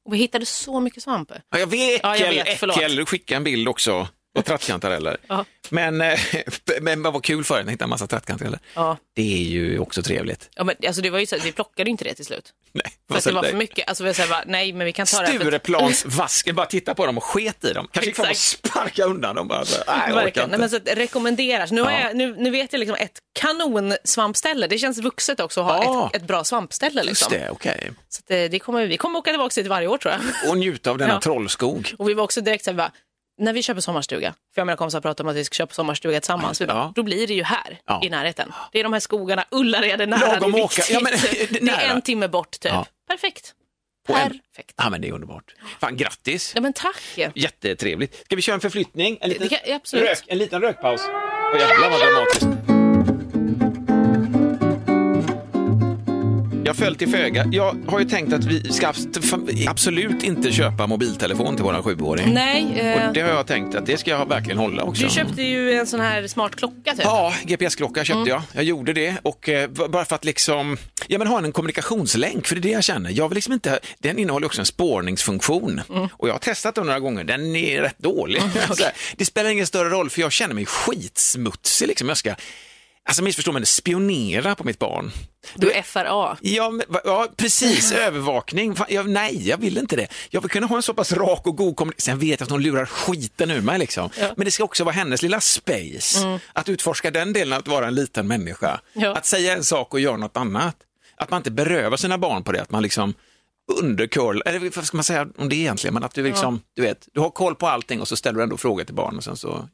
Speaker 2: Och vi hittade så mycket svamp.
Speaker 1: Ja, jag vet,
Speaker 2: Ja, jag
Speaker 1: Äckel,
Speaker 2: vet, förlåt.
Speaker 1: Äckel skicka en bild också på trattkantareller.
Speaker 2: Ja.
Speaker 1: Men, eh, men vad kul för en att hitta en massa trattkantareller.
Speaker 2: Ja.
Speaker 1: Det är ju också trevligt.
Speaker 2: Ja, men, alltså, det var ju så här, vi plockade ju inte det till slut.
Speaker 1: Nej,
Speaker 2: För
Speaker 1: vad
Speaker 2: att det
Speaker 1: säger
Speaker 2: var
Speaker 1: dig?
Speaker 2: för mycket. Alltså, vi var så här, bara, nej, men vi kan ta det här. för att-
Speaker 1: Stureplansvasken, bara titta på dem och sket i dem. Kanske gick fram och sparka undan dem bara. så här, Nej, jag orkar
Speaker 2: Verkligen.
Speaker 1: inte.
Speaker 2: Nej, men så att, rekommenderas. Nu, har
Speaker 1: Ja.
Speaker 2: jag, nu, nu vet jag liksom ett kanonsvampställe. Det känns vuxet också att ha
Speaker 1: Ja.
Speaker 2: ett, ett bra svampställe. Liksom.
Speaker 1: Just det, okej.
Speaker 2: Så att, eh, det kommer, vi kommer åka tillbaka dit varje år tror jag.
Speaker 1: Och njuta av denna
Speaker 2: Ja.
Speaker 1: trollskog.
Speaker 2: Och vi var också direkt så här, vi bara, när vi köper sommarstuga, för jag och mina kompisar pratade om att vi ska köpa sommarstuga tillsammans, vi bara,
Speaker 1: Ja.
Speaker 2: då blir det ju här
Speaker 1: Ja.
Speaker 2: i närheten. Det är de här skogarna, Ullared är nära,
Speaker 1: Lagom
Speaker 2: det är
Speaker 1: åka.
Speaker 2: viktigt.
Speaker 1: Ja, men, det är
Speaker 2: det är
Speaker 1: nära.
Speaker 2: en timme bort typ.
Speaker 1: Ja.
Speaker 2: Perfekt.
Speaker 1: Och en-
Speaker 2: Perfekt.
Speaker 1: Ja, men det är underbart. Fan, grattis.
Speaker 2: Ja men tack.
Speaker 1: Jättetrevligt. Ska vi köra en förflyttning? En liten,
Speaker 2: Det kan- absolut.
Speaker 1: Rök, en liten rökpaus. Åh, jävlar vad dramatiskt. Jag föll till föga. Jag har ju tänkt att vi ska abs- absolut inte köpa mobiltelefon till våran sjuåring.
Speaker 2: Nej, eh,
Speaker 1: Och det har jag tänkt att det ska jag verkligen hålla också.
Speaker 2: du köpte ju en sån här smart klocka typ.
Speaker 1: Ja, GPS-klocka köpte jag. Jag gjorde det och eh, b- bara för att liksom, ja men ha en kommunikationslänk, för det är det jag känner. Jag vill liksom inte, den innehåller också en spårningsfunktion och jag har testat den några gånger, den är rätt dålig. Så här, det spelar ingen större roll för jag känner mig skitsmutsig liksom. Jag ska, alltså missförstå mig, spionera på mitt barn.
Speaker 2: Du är FRA.
Speaker 1: Ja, men, va- ja precis. Övervakning. Fan, jag, nej, jag vill inte det. Jag vill kunna ha en så pass rak och god kommunikation. Sen vet jag att hon lurar skiten ur mig. Liksom. Men det ska också vara hennes lilla space. Att utforska den delen av att vara en liten människa.
Speaker 2: Ja.
Speaker 1: Att säga en sak och göra något annat. Att man inte berövar sina barn på det. Att man liksom undercurl, eller vad ska man säga om det egentligen? Men att du liksom, du vet, du har koll på allting och så ställer du ändå frågor till barn och sen så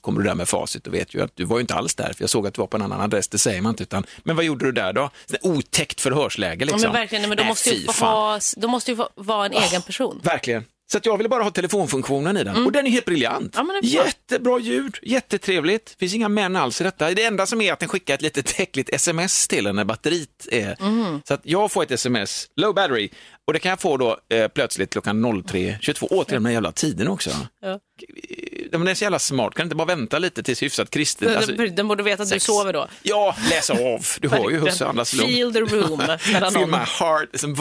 Speaker 1: kommer du där med facit och vet ju att du var ju inte alls där, för jag såg att du var på en annan adress, det säger man inte, utan men vad gjorde du där då? Sådär Otäckt förhörsläge
Speaker 2: Ja,
Speaker 1: liksom.
Speaker 2: men verkligen, nej, men de,
Speaker 1: Nej,
Speaker 2: måste ju
Speaker 1: fy
Speaker 2: få
Speaker 1: fan. Ah,
Speaker 2: ha, de måste ju få vara en egen person.
Speaker 1: Verkligen. Så att jag ville bara ha telefonfunktionen i den och den är helt briljant.
Speaker 2: Mm. Ja, men det är bra.
Speaker 1: Jättebra ljud, jättetrevligt. finns inga män alls i detta. Det enda som är att den skickar ett litet äckligt sms till en när batteriet är...
Speaker 2: Mm.
Speaker 1: Så att jag får ett sms, low battery, och det kan jag få då eh, plötsligt klockan 03.22. Återigen med jävla tiden också.
Speaker 2: Ja.
Speaker 1: Den är så jävla smart, kan du inte bara vänta lite tills hyfsat kristet? alltså-
Speaker 2: de, de borde veta att
Speaker 1: sex.
Speaker 2: du sover då.
Speaker 1: Ja, läs av. Du hör ju husse andas lugnt.
Speaker 2: Feel the room mellan
Speaker 1: Feel my
Speaker 2: dem.
Speaker 1: heart, som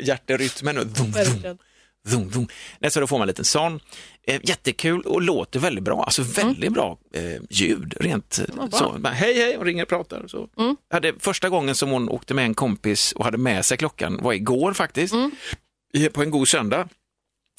Speaker 1: valhjärterytmen. och Dum, dum,
Speaker 2: Verkligen.
Speaker 1: dum, dum. Nej, så då får man en liten sån. Eh, jättekul och låter väldigt bra. Alltså väldigt bra eh, ljud. Rent eh,
Speaker 2: Vad bra.
Speaker 1: så. Bara, hej, hej, hon ringer och pratar. och Så. Hade, första gången som hon åkte med en kompis och hade med sig klockan var igår faktiskt. I- På en god söndag.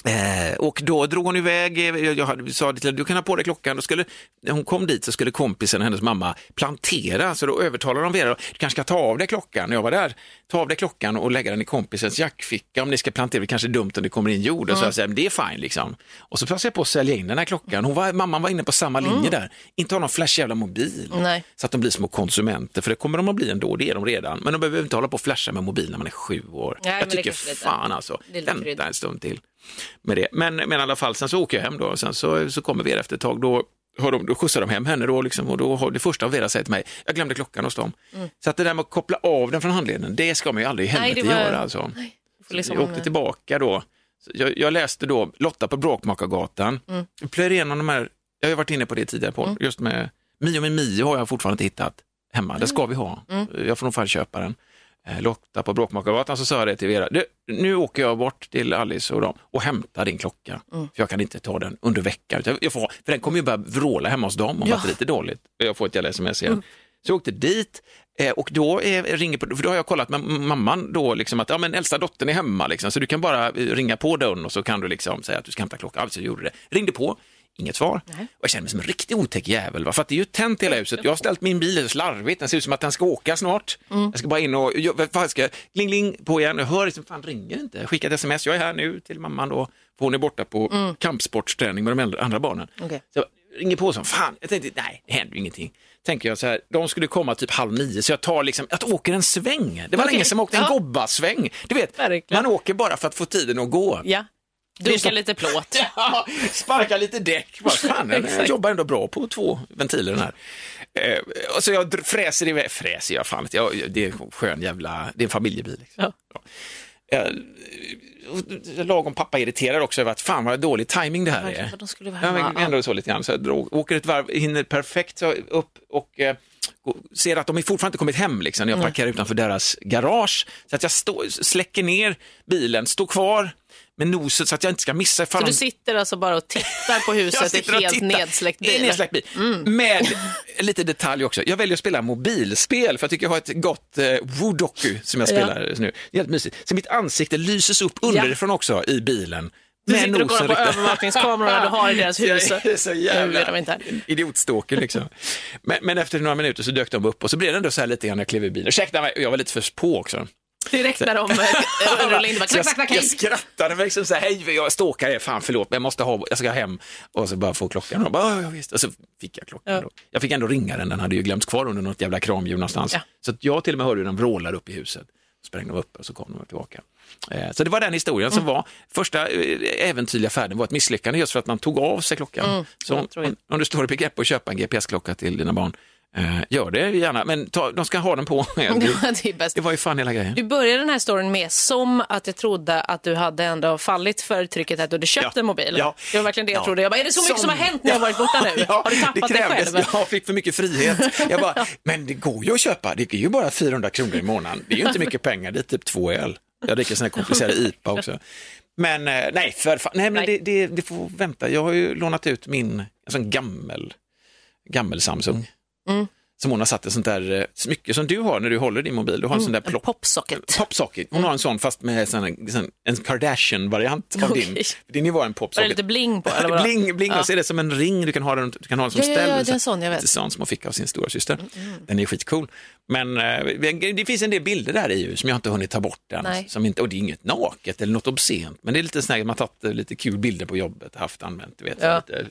Speaker 1: Eh, och då drog hon iväg, eh, jag, jag hade- sa det till henne, du kan ha på dig klockan. Då skulle, när hon kom dit så skulle kompisen och hennes mamma plantera, så då övertalade de Vera, du kanske ska ta av dig klockan. Och Jag var där, ta av dig klockan och lägga den i kompisens jackficka om ni ska plantera, det kanske är dumt om det kommer in jord. Och så jag säger, men det är fine liksom. Och så passade jag på att sälja in den här klockan. Hon var, mamman var inne på samma linje där, inte ha någon flashig jävla mobil.
Speaker 2: Nej.
Speaker 1: Så att de blir små konsumenter, för det kommer de att bli ändå, det är de redan. Men de behöver inte hålla på och flasha med mobil när man är sju år.
Speaker 2: Nej,
Speaker 1: jag
Speaker 2: men det
Speaker 1: tycker
Speaker 2: kanske lite-
Speaker 1: fan alltså,
Speaker 2: det är lite krydd.
Speaker 1: vänta en stund till med det. Men, men i alla fall, sen så åker jag hem då och sen så, så kommer Vera efter ett tag. Då, har de, då skjutsar de hem henne då liksom, och då har det första Vera säger till mig, jag glömde klockan hos dem. Så att det där med att koppla av den från handleden, det ska man ju aldrig i
Speaker 2: Mm. Nej,
Speaker 1: helvete
Speaker 2: det var-
Speaker 1: göra. Alltså.
Speaker 2: Du får liksom-
Speaker 1: Jag åkte tillbaka då. Så Jag, jag läste då Lotta på Bråkmakargatan. Jag plöjer igenom de här, jag har ju varit inne på det tidigare på, just med Mio med Mio har jag fortfarande inte hittat hemma. Det ska vi ha. Jag får nog fan köpa den. Eh, Lotta på Bråkmakargatan så sa jag det till Vera, du, nu åker jag bort till Alice och dem och hämtar din klocka. För jag kan inte ta den under veckan. utan Jag får, ha- för den kommer ju börja vråla hemma hos dem om
Speaker 2: Ja.
Speaker 1: batteriet är dåligt. Jag får ett jävla sms igen. Så jag åkte dit eh, och då eh, ringer på, för då har jag kollat med mamman då liksom att ja, men äldsta dottern är hemma liksom, så du kan bara eh, ringa på dörren och så kan du liksom säga att du ska hämta klockan. Alltså jag gjorde det. Ringde på, Inget svar.
Speaker 2: Nej.
Speaker 1: Och jag känner mig som en riktig otäck jävel. Va? För att det är ju tänt i hela huset. Jag har ställt min bil lite slarvigt. Den ser ut som att den ska åka snart.
Speaker 2: Mm.
Speaker 1: Jag ska bara in och, jag, vad fan ska jag, gling, gling på igen. Jag hör liksom, fan ringer inte. Jag skickar ett sms. Jag är här nu till mamman då. För hon är borta på kampsportsträning med de äldre- andra barnen.
Speaker 2: Mm. Okej.
Speaker 1: Så jag ringer på som fan. Jag tänkte, nej, det händer ju ingenting. Tänker jag så här, de skulle komma typ halv nio, så jag tar liksom, jag åker en sväng. Det var
Speaker 2: Okej.
Speaker 1: länge sedan jag åkte en
Speaker 2: Ja.
Speaker 1: gobbasväng. Du vet,
Speaker 2: Verkligen.
Speaker 1: man åker bara för att få tiden att gå.
Speaker 2: Ja. Dunkar lite plåt.
Speaker 1: Ja, sparka lite däck. Vad fan, den
Speaker 2: Exakt.
Speaker 1: jobbar ändå bra på två ventiler den här. Eh, och så jag dr- fräser iväg, fräser jag fan inte. jag, det är en skön jävla, det är en familjebil. Liksom.
Speaker 2: Ja.
Speaker 1: Ja. Eh, och lagom pappa irriterad också över att fan vad dålig timing det här
Speaker 2: Verkligen,
Speaker 1: är.
Speaker 2: för de skulle vara
Speaker 1: Ja,
Speaker 2: hemma.
Speaker 1: men ändå så lite grann. Så jag drog, åker ett varv, hinner perfekt så upp och eh, gå- ser att de är fortfarande inte kommit hem. Liksom, när jag parkerar utanför deras garage. Så att jag står- släcker ner bilen, står kvar med nosen så att jag inte ska missa ifall
Speaker 2: Så du
Speaker 1: de-
Speaker 2: sitter alltså bara och tittar på
Speaker 1: jag
Speaker 2: huset i
Speaker 1: sitter och
Speaker 2: helt
Speaker 1: tittar.
Speaker 2: nedsläckt
Speaker 1: I en
Speaker 2: bil? Mm.
Speaker 1: nedsläckt bil. Med lite detalj också. Jag väljer att spela mobilspel för jag tycker jag har ett gott eh, Woodoku som jag
Speaker 2: Ja.
Speaker 1: spelar nu. Det är helt mysigt. Så mitt ansikte lyses upp underifrån också i bilen.
Speaker 2: Du
Speaker 1: Med
Speaker 2: sitter och
Speaker 1: nosen
Speaker 2: kollar på
Speaker 1: riktad-
Speaker 2: övervakningskamerorna du har i deras hus.
Speaker 1: Jag är så
Speaker 2: Nu är de
Speaker 1: jävla
Speaker 2: inte här.
Speaker 1: idiotstalker liksom. Men, men efter några minuter så dök de upp och så blev det ändå så här lite grann när jag klev i bilen. Ursäkta mig, jag var lite för på också.
Speaker 2: Direkt när de eh, rullar in, det bara
Speaker 1: Så
Speaker 2: knack, knack, knack,
Speaker 1: jag, jag skrattade mig liksom så här, hej, jag stalkar er, fan förlåt, men jag måste ha, jag ska hem och så bara få klockan. Och, de bara, "Ja, ja, visst. och så fick jag klockan.
Speaker 2: Ja.
Speaker 1: Då. Jag fick ändå ringa den, den hade ju glömts kvar under något jävla kramhjul någonstans.
Speaker 2: Ja.
Speaker 1: Så att jag till och med hörde hur den vrålade upp i huset. Så Sprängde de upp och så kom de tillbaka. Eh, Så det var den historien
Speaker 2: Mm.
Speaker 1: som var, första eh, äventyrliga färden var ett misslyckande just för att man tog av sig klockan. så om,
Speaker 2: tror Mm. jag.
Speaker 1: om- om du står i begrepp att köpa en GPS-klocka till dina barn, eh, gör det gärna, men ta, de ska ha den på.
Speaker 2: Ja, det är bäst.
Speaker 1: Det var ju fan hela grejen.
Speaker 2: Du började den här storyn med som att jag trodde att du hade ändå fallit för trycket att du hade köpt
Speaker 1: Ja.
Speaker 2: en mobil.
Speaker 1: Ja.
Speaker 2: Det var verkligen det jag
Speaker 1: Ja.
Speaker 2: trodde. Jag bara, är det så mycket som har hänt när jag varit borta nu?
Speaker 1: Ja,
Speaker 2: har du tappat
Speaker 1: det
Speaker 2: dig
Speaker 1: krävdes.
Speaker 2: själv?
Speaker 1: Jag fick för mycket frihet. Jag bara, men det går ju att köpa. Det är ju bara 400 kronor i månaden. Det är ju inte mycket pengar. Det är typ två öl. Jag dricker sån här komplicerad IPA också. Men eh, nej, för fan. Nej, men
Speaker 2: Nej.
Speaker 1: Det, det, det får vänta. Jag har ju lånat ut min, en sån gammel, gammel Samsung.
Speaker 2: Mm.
Speaker 1: Som hon har satt ett sånt där eh, smycke som du har när du håller din mobil. Du har en sån där
Speaker 2: Mm. En
Speaker 1: plock.
Speaker 2: Popsocket.
Speaker 1: Popsocket. Hon har en sån fast med sån, sån, en Kardashian-variant av din.
Speaker 2: Okej.
Speaker 1: Din är var en
Speaker 2: Var det
Speaker 1: popsocket.
Speaker 2: lite bling på? Eller vadå?
Speaker 1: Bling, bling
Speaker 2: Ja.
Speaker 1: och så är det som en ring, du kan ha den, du kan ha den som
Speaker 2: Ja, ja, ja,
Speaker 1: ställ.
Speaker 2: det är en sån, jag vet. Mm,
Speaker 1: En sån som hon fick av sin stora syster. Den är skitcool. Men eh, det finns en del bilder där i ju som jag inte hunnit ta bort
Speaker 2: Nej.
Speaker 1: än. Som inte, och det är inget naket eller något obscent, men det är lite sån här, man har tagit eh, lite kul bilder på jobbet, haft, använt, du vet.
Speaker 2: Ja.
Speaker 1: Så lite, eh,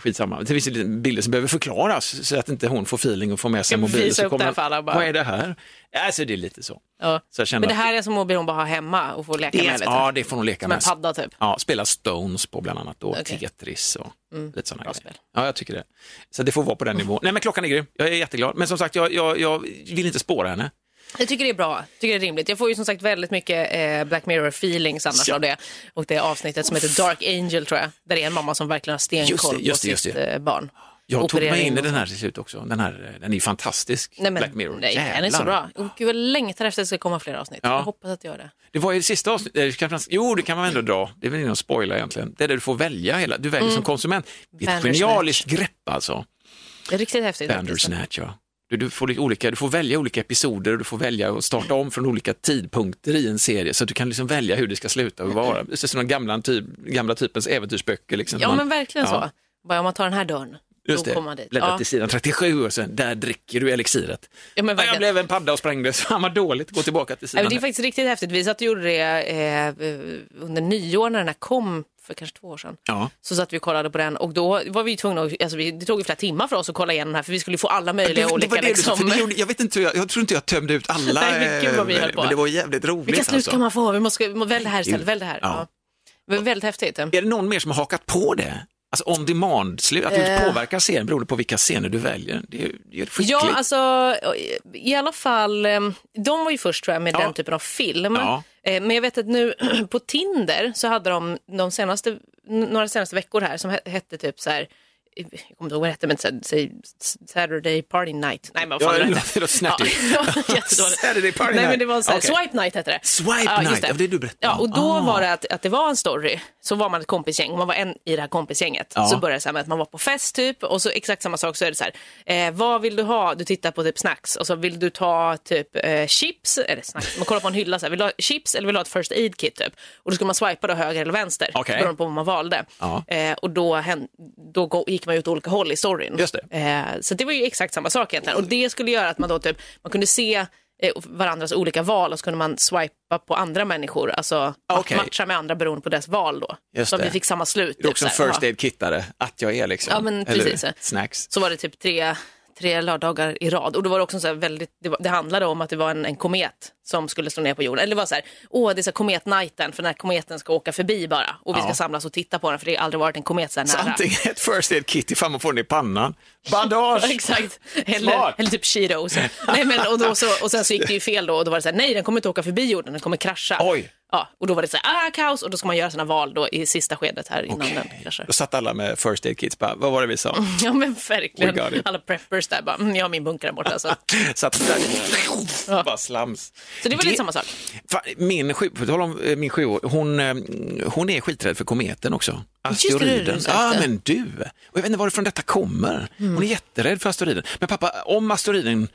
Speaker 1: skitsamma. Det finns ju lite bilder som behöver förklaras så att inte hon får feeling och får med sig
Speaker 2: Ska
Speaker 1: en mobil.
Speaker 2: visa
Speaker 1: Så
Speaker 2: upp den för alla bara.
Speaker 1: Vad är det här? Alltså det är lite så.
Speaker 2: Ja.
Speaker 1: så jag känner
Speaker 2: Men det
Speaker 1: att-
Speaker 2: här är som mobil hon bara har hemma och får leka
Speaker 1: det,
Speaker 2: med lite.
Speaker 1: Ja, det får hon leka
Speaker 2: Som en
Speaker 1: med.
Speaker 2: padda typ.
Speaker 1: Ja, spela Stones på bland annat då,
Speaker 2: Okej. Mm.
Speaker 1: Tetris och lite sådana
Speaker 2: bra
Speaker 1: grejer.
Speaker 2: spel. Oh.
Speaker 1: Ja, jag tycker det. Så det får vara på den nivån. Nej, men klockan är grym. Jag är jätteglad. Men som sagt, jag, jag, jag vill inte spåra henne.
Speaker 2: Jag tycker det är bra. Jag tycker det är rimligt. Jag får ju som sagt väldigt mycket eh, Black Mirror-feelings annars
Speaker 1: Ja.
Speaker 2: av det. Och det avsnittet som heter Dark Angel tror jag. Där det är en mamma som verkligen har
Speaker 1: Just
Speaker 2: stenkoll
Speaker 1: det, just det,
Speaker 2: på
Speaker 1: just
Speaker 2: sitt
Speaker 1: det.
Speaker 2: eh, barn.
Speaker 1: Jag tog
Speaker 2: Operering
Speaker 1: mig in i
Speaker 2: och
Speaker 1: den här till slut också. Den, här, eh, den är ju fantastisk,
Speaker 2: Nej, men,
Speaker 1: Black Mirror.
Speaker 2: Nej, den är så
Speaker 1: Jävlar.
Speaker 2: bra. Och gud, jag längtar efter att det ska komma fler avsnitt.
Speaker 1: Ja.
Speaker 2: Jag hoppas att det gör det.
Speaker 1: Det var ju det sista avsnittet, jo det kan man ändå dra, det är väl ingen spoiler egentligen. Det är där du får välja hela, du
Speaker 2: Mm.
Speaker 1: väljer som konsument. Det är ett
Speaker 2: Bandersnatch.
Speaker 1: genialiskt grepp alltså.
Speaker 2: Det är riktigt häftigt. faktiskt.
Speaker 1: Bandersnatch, ja. Du, du, får lite olika, du får välja olika episoder och du får välja att starta om från olika tidpunkter i en serie så att du kan liksom välja hur det ska sluta och vara. Det är som de gamla, typ, gamla typens äventyrsböcker. Liksom.
Speaker 2: Ja,
Speaker 1: Man-
Speaker 2: men verkligen
Speaker 1: Ja,
Speaker 2: så. Bara om man tar den här dörren,
Speaker 1: Just
Speaker 2: då
Speaker 1: det,
Speaker 2: kommer man dit.
Speaker 1: bläddra
Speaker 2: Ja.
Speaker 1: till sidan 37 och sen där dricker du elixiret.
Speaker 2: Ja, men
Speaker 1: Ja, jag
Speaker 2: verkligen.
Speaker 1: blev en padda och sprängdes, fan vad dåligt, gå tillbaka till
Speaker 2: Nej,
Speaker 1: sidan.
Speaker 2: men det är faktiskt riktigt häftigt. Vi satt och gjorde det eh, under nyår när den här kom för kanske två år sedan.
Speaker 1: Ja.
Speaker 2: Så satt vi och kollade på den och då var vi ju tvungna, att, alltså vi, det tog ju flera timmar för oss att kolla igenom den här för vi skulle ju få alla
Speaker 1: Det, det
Speaker 2: möjliga
Speaker 1: var
Speaker 2: olika
Speaker 1: det du sa, för
Speaker 2: liksom.
Speaker 1: det gjorde, jag, vet inte, hur jag, jag tror inte jag tömde ut alla,
Speaker 2: Nej, men gud vad vi
Speaker 1: eh,
Speaker 2: höll på.
Speaker 1: men det var jävligt roligt.
Speaker 2: Vilka slut
Speaker 1: alltså.
Speaker 2: kan man få? Vi måste, vi må- välj det här istället, välj det här.
Speaker 1: Ja.
Speaker 2: Ja. Men Väldigt häftigt.
Speaker 1: Är det någon mer som har hakat på det? Alltså on demand, slut, att du
Speaker 2: Eh.
Speaker 1: inte påverkar scenen beroende på vilka scener du väljer. Det är, det är skickligt.
Speaker 2: Ja, alltså i alla fall, eh, de var ju först tror jag med
Speaker 1: Ja.
Speaker 2: den typen av film.
Speaker 1: Ja.
Speaker 2: Eh, Men jag vet att nu på Tinder så hade de, de senaste, n- några senaste veckor här som he- hette typ så här jag kommer inte ihåg vad det hette, men så- så- Saturday Party Night. Nej, men vad fan
Speaker 1: Ja,
Speaker 2: det
Speaker 1: det
Speaker 2: hette.
Speaker 1: låter- det låter snärtigt.
Speaker 2: Ja, det var jättedåligt.
Speaker 1: Saturday Party
Speaker 2: Nej, men
Speaker 1: Night.
Speaker 2: det var så här,
Speaker 1: Okej.
Speaker 2: Swipe Night hette det.
Speaker 1: Swipe
Speaker 2: just
Speaker 1: Night, ja, det du berättade. Ah.
Speaker 2: Ja, och då var det att, att det var en story. Så var man ett kompisgäng, man var en i det här kompisgänget.
Speaker 1: Ja.
Speaker 2: Så började det så här med att man var på fest typ och så exakt samma sak så är det så här. Eh, vad vill du ha? Du tittar på typ snacks och så vill du ta typ eh, chips, eller snacks, man kollar på en hylla så här. Vill du ha chips eller vill du ha ett first aid kit typ? Och då skulle man swipa då höger eller vänster.
Speaker 1: Okej.
Speaker 2: Beroende på vad man valde.
Speaker 1: Ja.
Speaker 2: Eh, och då, hän- då gå- gick man ju åt olika håll i storyn.
Speaker 1: Just det.
Speaker 2: Eh, så det var ju exakt samma sak egentligen. Och det skulle göra att man då typ, man kunde se eh, varandras olika val och så kunde man swipa på andra människor, alltså ma-
Speaker 1: Okej.
Speaker 2: matcha med andra beroende på deras val då.
Speaker 1: Just
Speaker 2: så att
Speaker 1: det.
Speaker 2: vi fick samma slut. typ
Speaker 1: Det är också en
Speaker 2: så här,
Speaker 1: first
Speaker 2: ja.
Speaker 1: aid-kittare, att jag är liksom.
Speaker 2: Ja, men
Speaker 1: Eller
Speaker 2: precis.
Speaker 1: Snacks.
Speaker 2: Så var det typ tre, tre lördagar i rad. Och då var det också så här väldigt, det, var, det handlade om att det var en, en komet som skulle slå ner på jorden. Eller det var så här, åh det är så här kometnighten, för den här kometen ska åka förbi bara. Och vi
Speaker 1: Ja.
Speaker 2: ska samlas och titta på den, för det har aldrig varit en komet så här
Speaker 1: Så
Speaker 2: nära.
Speaker 1: antingen ett first aid-kit ifall man får den i pannan. Bandage!
Speaker 2: Exakt. Eller,
Speaker 1: Smart.
Speaker 2: eller typ Chiro. Så. Nej, men, och, då, så, och sen så gick det ju fel då och då var det så här, nej den kommer inte åka förbi jorden, den kommer krascha.
Speaker 1: Oj.
Speaker 2: Ja, och då var det så här, ah, kaos och då ska man göra sina val då i sista skedet här innan den
Speaker 1: Okej.
Speaker 2: kraschar.
Speaker 1: Då satt alla med first aid-kits bara, vad var det vi sa?
Speaker 2: Ja men
Speaker 1: We got
Speaker 2: verkligen.
Speaker 1: it.
Speaker 2: Alla preppers där bara, mm, jag har min bunker där borta. Så,
Speaker 1: Satt där, bara slams.
Speaker 2: så det var lite samma sak.
Speaker 1: Fan, Min sju, på tal om eh, min sju, hon, eh, hon är skiträdd för kometen också.
Speaker 2: Just det, det är det du
Speaker 1: Asteroiden.
Speaker 2: sa
Speaker 1: Ja,
Speaker 2: efter.
Speaker 1: men du. Och jag vet inte varifrån detta kommer.
Speaker 2: Mm.
Speaker 1: Hon är jätterädd för asteroiden. Men pappa, om asteroiden,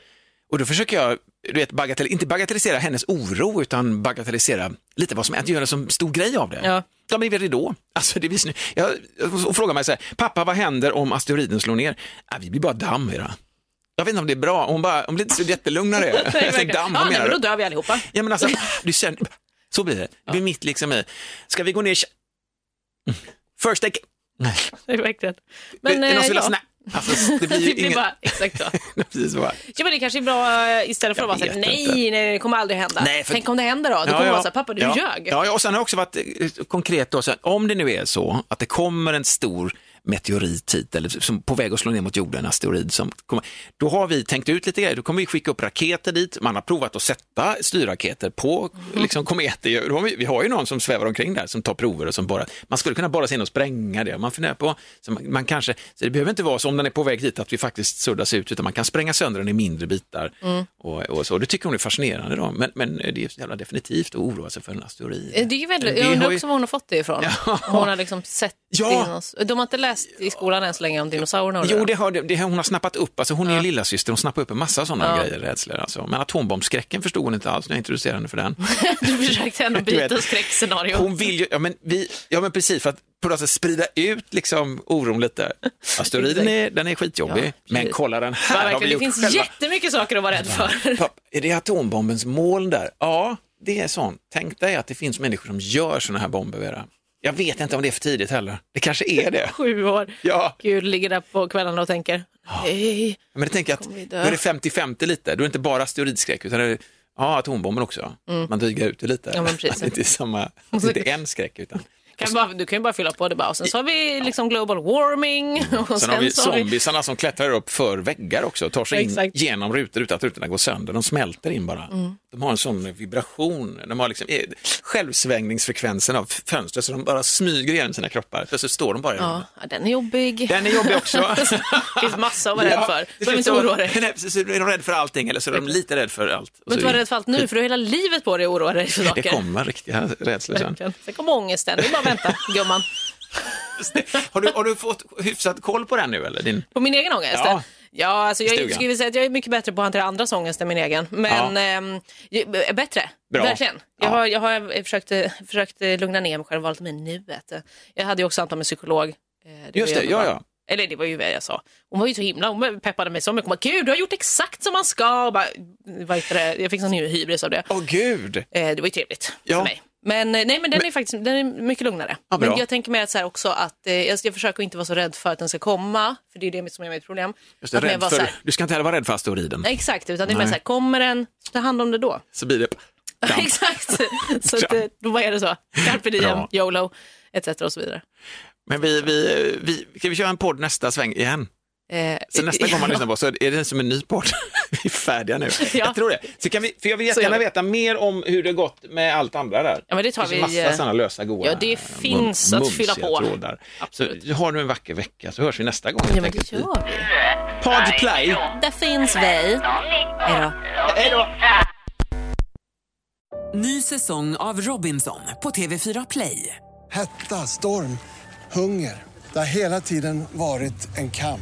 Speaker 1: och då försöker jag, du vet, bagatell, inte bagatellisera hennes oro, utan bagatellisera lite vad som är, att göra en sån stor grej av det.
Speaker 2: Ja.
Speaker 1: Ja, men det är väl då. Alltså, det visst nu. Jag, och frågar mig så här, pappa, vad händer om asteroiden slår ner? Ah, vi blir bara damm, Vera. Jag vet inte om det är bra. Hon bara, hon blir inte så jättelugn när det är.
Speaker 2: Nej,
Speaker 1: Jag tänkte,
Speaker 2: verkligen.
Speaker 1: damm,
Speaker 2: ja,
Speaker 1: vad
Speaker 2: nej,
Speaker 1: menar
Speaker 2: men
Speaker 1: du?
Speaker 2: då dör vi allihopa.
Speaker 1: Ja men alltså, du känner, så blir det. Det blir mitt liksom i, ska vi gå ner, i- Mm. first aid, nej,
Speaker 2: Nej, verkligen.
Speaker 1: men, det är
Speaker 2: eh,
Speaker 1: någon som vill ha
Speaker 2: ja.
Speaker 1: snack. Alltså, det blir ju
Speaker 2: det
Speaker 1: inget.
Speaker 2: blir bara exakt så.
Speaker 1: Precis så här.
Speaker 2: Ja, men det kanske är bra eh, istället för
Speaker 1: Jag
Speaker 2: att vara så här,
Speaker 1: vet
Speaker 2: nej,
Speaker 1: inte.
Speaker 2: nej, det kommer aldrig hända.
Speaker 1: Nej, för-
Speaker 2: Tänk om det händer då? Då kommer man vara så här, pappa du
Speaker 1: ja.
Speaker 2: ljög.
Speaker 1: Ja, ja, och sen har jag också varit eh, konkret då, så här, om det nu är så att det kommer en stor meteorit hit, eller som på väg att slå ner mot jorden, en asteroid som kommer, då har vi tänkt ut lite grejer, då kommer vi skicka upp raketer dit, man har provat att sätta styrraketer på
Speaker 2: Mm.
Speaker 1: liksom, kometer, Då har vi, vi har ju någon som svävar omkring där som tar prover och som bara, man skulle kunna borra sig in och spränga det, man funderar på, så man, man kanske, så det behöver inte vara så om den är på väg dit att vi faktiskt suddas ut, utan man kan spränga sönder den i mindre bitar
Speaker 2: Mm.
Speaker 1: och, och så, det tycker hon är fascinerande då, men, men det är så jävla definitivt att oroa sig för en asteroid.
Speaker 2: Eh, Det är ju väldigt,
Speaker 1: Det
Speaker 2: jag undrar
Speaker 1: har ju-
Speaker 2: också var hon har fått det ifrån.
Speaker 1: Ja.
Speaker 2: Hon har liksom sett
Speaker 1: Ja.
Speaker 2: dinos... De har inte läst i skolan än så länge om dinosaurierna. och
Speaker 1: Jo,
Speaker 2: där.
Speaker 1: det har, det, hon har snappat upp, alltså hon är ju lillasyster, hon snappar upp en massa sådana grejer, rädslor alltså. Men atombombskräcken förstod hon inte alls när jag introducerade henne för den.
Speaker 2: Du försökte ändå
Speaker 1: Du vet,
Speaker 2: byta skräckscenario.
Speaker 1: Hon vill ju, ja men, vi, ja, men precis, för att på något sätt sprida ut liksom oron lite. Asteroiden är, den är skitjobbig,
Speaker 2: Ja, precis.
Speaker 1: men kolla den
Speaker 2: Ja,
Speaker 1: här har vi
Speaker 2: verkligen. Det
Speaker 1: gjort
Speaker 2: finns
Speaker 1: själva.
Speaker 2: jättemycket saker att vara rädd för.
Speaker 1: Papp, är det atombombens moln där? Ja, det är sånt. Tänk dig att det finns människor som gör sådana här bomber, Vera. Jag vet inte om det är för tidigt heller. Det kanske är det.
Speaker 2: Sju år.
Speaker 1: Ja.
Speaker 2: Gud, ligger där på kvällarna och tänker, nej,
Speaker 1: Men jag tänker att
Speaker 2: Kommer vi
Speaker 1: då
Speaker 2: dö?
Speaker 1: är det 50-50 lite, då är det inte bara asteroidskräck utan det är ja, atombomben också. Man drygar ut det lite.
Speaker 2: Mm. Ja, men precis.
Speaker 1: Att det inte är samma, att det inte är en skräck utan.
Speaker 2: kan bara, du kan ju bara fylla på det bara. Och sen så har vi liksom global warming. Och sen,
Speaker 1: Sen har vi
Speaker 2: så har vi...
Speaker 1: zombiesarna som klättrar upp för väggar också, tar sig in
Speaker 2: Exakt. Mm.
Speaker 1: genom rutor utan att rutorna går sönder, de smälter in bara. De har en sån vibration, de har liksom eh, självsvängningsfrekvensen av fönstret så de bara smyger igenom sina kroppar, plötsligt står de bara i rummet.
Speaker 2: Ja, den är jobbig.
Speaker 1: Den är jobbig också.
Speaker 2: Det finns massa att vara rädd för.
Speaker 1: det
Speaker 2: Behöver
Speaker 1: finns
Speaker 2: inte
Speaker 1: så-
Speaker 2: oroa dig.
Speaker 1: Nej, precis, är de rädda för allting eller så är de lite rädda för allt. Och
Speaker 2: Du behöver
Speaker 1: så-
Speaker 2: inte vara rädd för allt nu, för du har hela livet på dig att oroa dig för saker.
Speaker 1: Typ. Det kommer riktiga rädslor sen.
Speaker 2: Verkligen. Sen kommer ångesten. Det är bara att vänta, gumman.
Speaker 1: Har du, har du fått hyfsat koll på den nu eller? Din...
Speaker 2: På min egen ångest? Ja.
Speaker 1: Ja.
Speaker 2: Ja, alltså jag är-
Speaker 1: Stugan.
Speaker 2: skulle säga att jag är mycket bättre på att hantera andras ångest än min egen. Men ehm, ju- eh, bättre,
Speaker 1: Bra.
Speaker 2: verkligen. Jag,
Speaker 1: Ja.
Speaker 2: har, jag har försökt, eh, försökt eh, lugna ner mig själv och valt mig nuet. Jag hade ju också samtal med psykolog. eh, var
Speaker 1: Just det,
Speaker 2: jättebra.
Speaker 1: ja, ja.
Speaker 2: Eller det var ju vad jag sa. Hon var ju så himla, hon peppade mig så mycket. Hon bara, gud du har gjort exakt som man ska. Och bara, vad heter det? Jag fick sån hybris av det.
Speaker 1: Åh gud!
Speaker 2: Eh, det var ju trevligt
Speaker 1: Ja.
Speaker 2: för mig. Men, eh, nej, men den är faktiskt den är mycket lugnare.
Speaker 1: Ja, bra.
Speaker 2: men jag tänker mig att så här också att eh, jag, jag försöker inte vara så rädd för att den ska komma, för det är det som är mitt problem.
Speaker 1: Just det,
Speaker 2: Att mer
Speaker 1: rädd
Speaker 2: vara så
Speaker 1: för,
Speaker 2: här-
Speaker 1: du ska inte heller vara rädd för asteroiden.
Speaker 2: Exakt, utan det är mer
Speaker 1: Nej.
Speaker 2: så här, kommer den, ta hand om det då.
Speaker 1: Så blir det... Damp.
Speaker 2: Exakt, så att, eh, då är det så. Carpe diem,
Speaker 1: Bra.
Speaker 2: YOLO, etc. och så vidare.
Speaker 1: Men vi, vi, vi, ska vi köra en podd nästa sväng igen?
Speaker 2: Eh,
Speaker 1: Så nästa gång man lyssnar på så är det som en ny podd. vi är färdiga nu.
Speaker 2: Ja.
Speaker 1: Jag tror det. Så kan vi, för jag vill
Speaker 2: Så gör
Speaker 1: jättegärna
Speaker 2: vi.
Speaker 1: veta mer om hur det har gått med allt andra där.
Speaker 2: Ja, men det tar
Speaker 1: finns ju
Speaker 2: vi, eh,
Speaker 1: massa sådana lösa goda
Speaker 2: ja, det finns
Speaker 1: mum-
Speaker 2: att fylla
Speaker 1: mumsiga
Speaker 2: på.
Speaker 1: Trådar.
Speaker 2: Absolut.
Speaker 1: Så har du en vacker vecka så hörs vi nästa gång.
Speaker 2: Ja, men det gör vi.
Speaker 1: Pod play.
Speaker 2: Där finns vi. Hej då.
Speaker 4: Ny säsong av Robinson på TV4 Play.
Speaker 5: Hetta, storm, hunger. Det har hela tiden varit en kamp.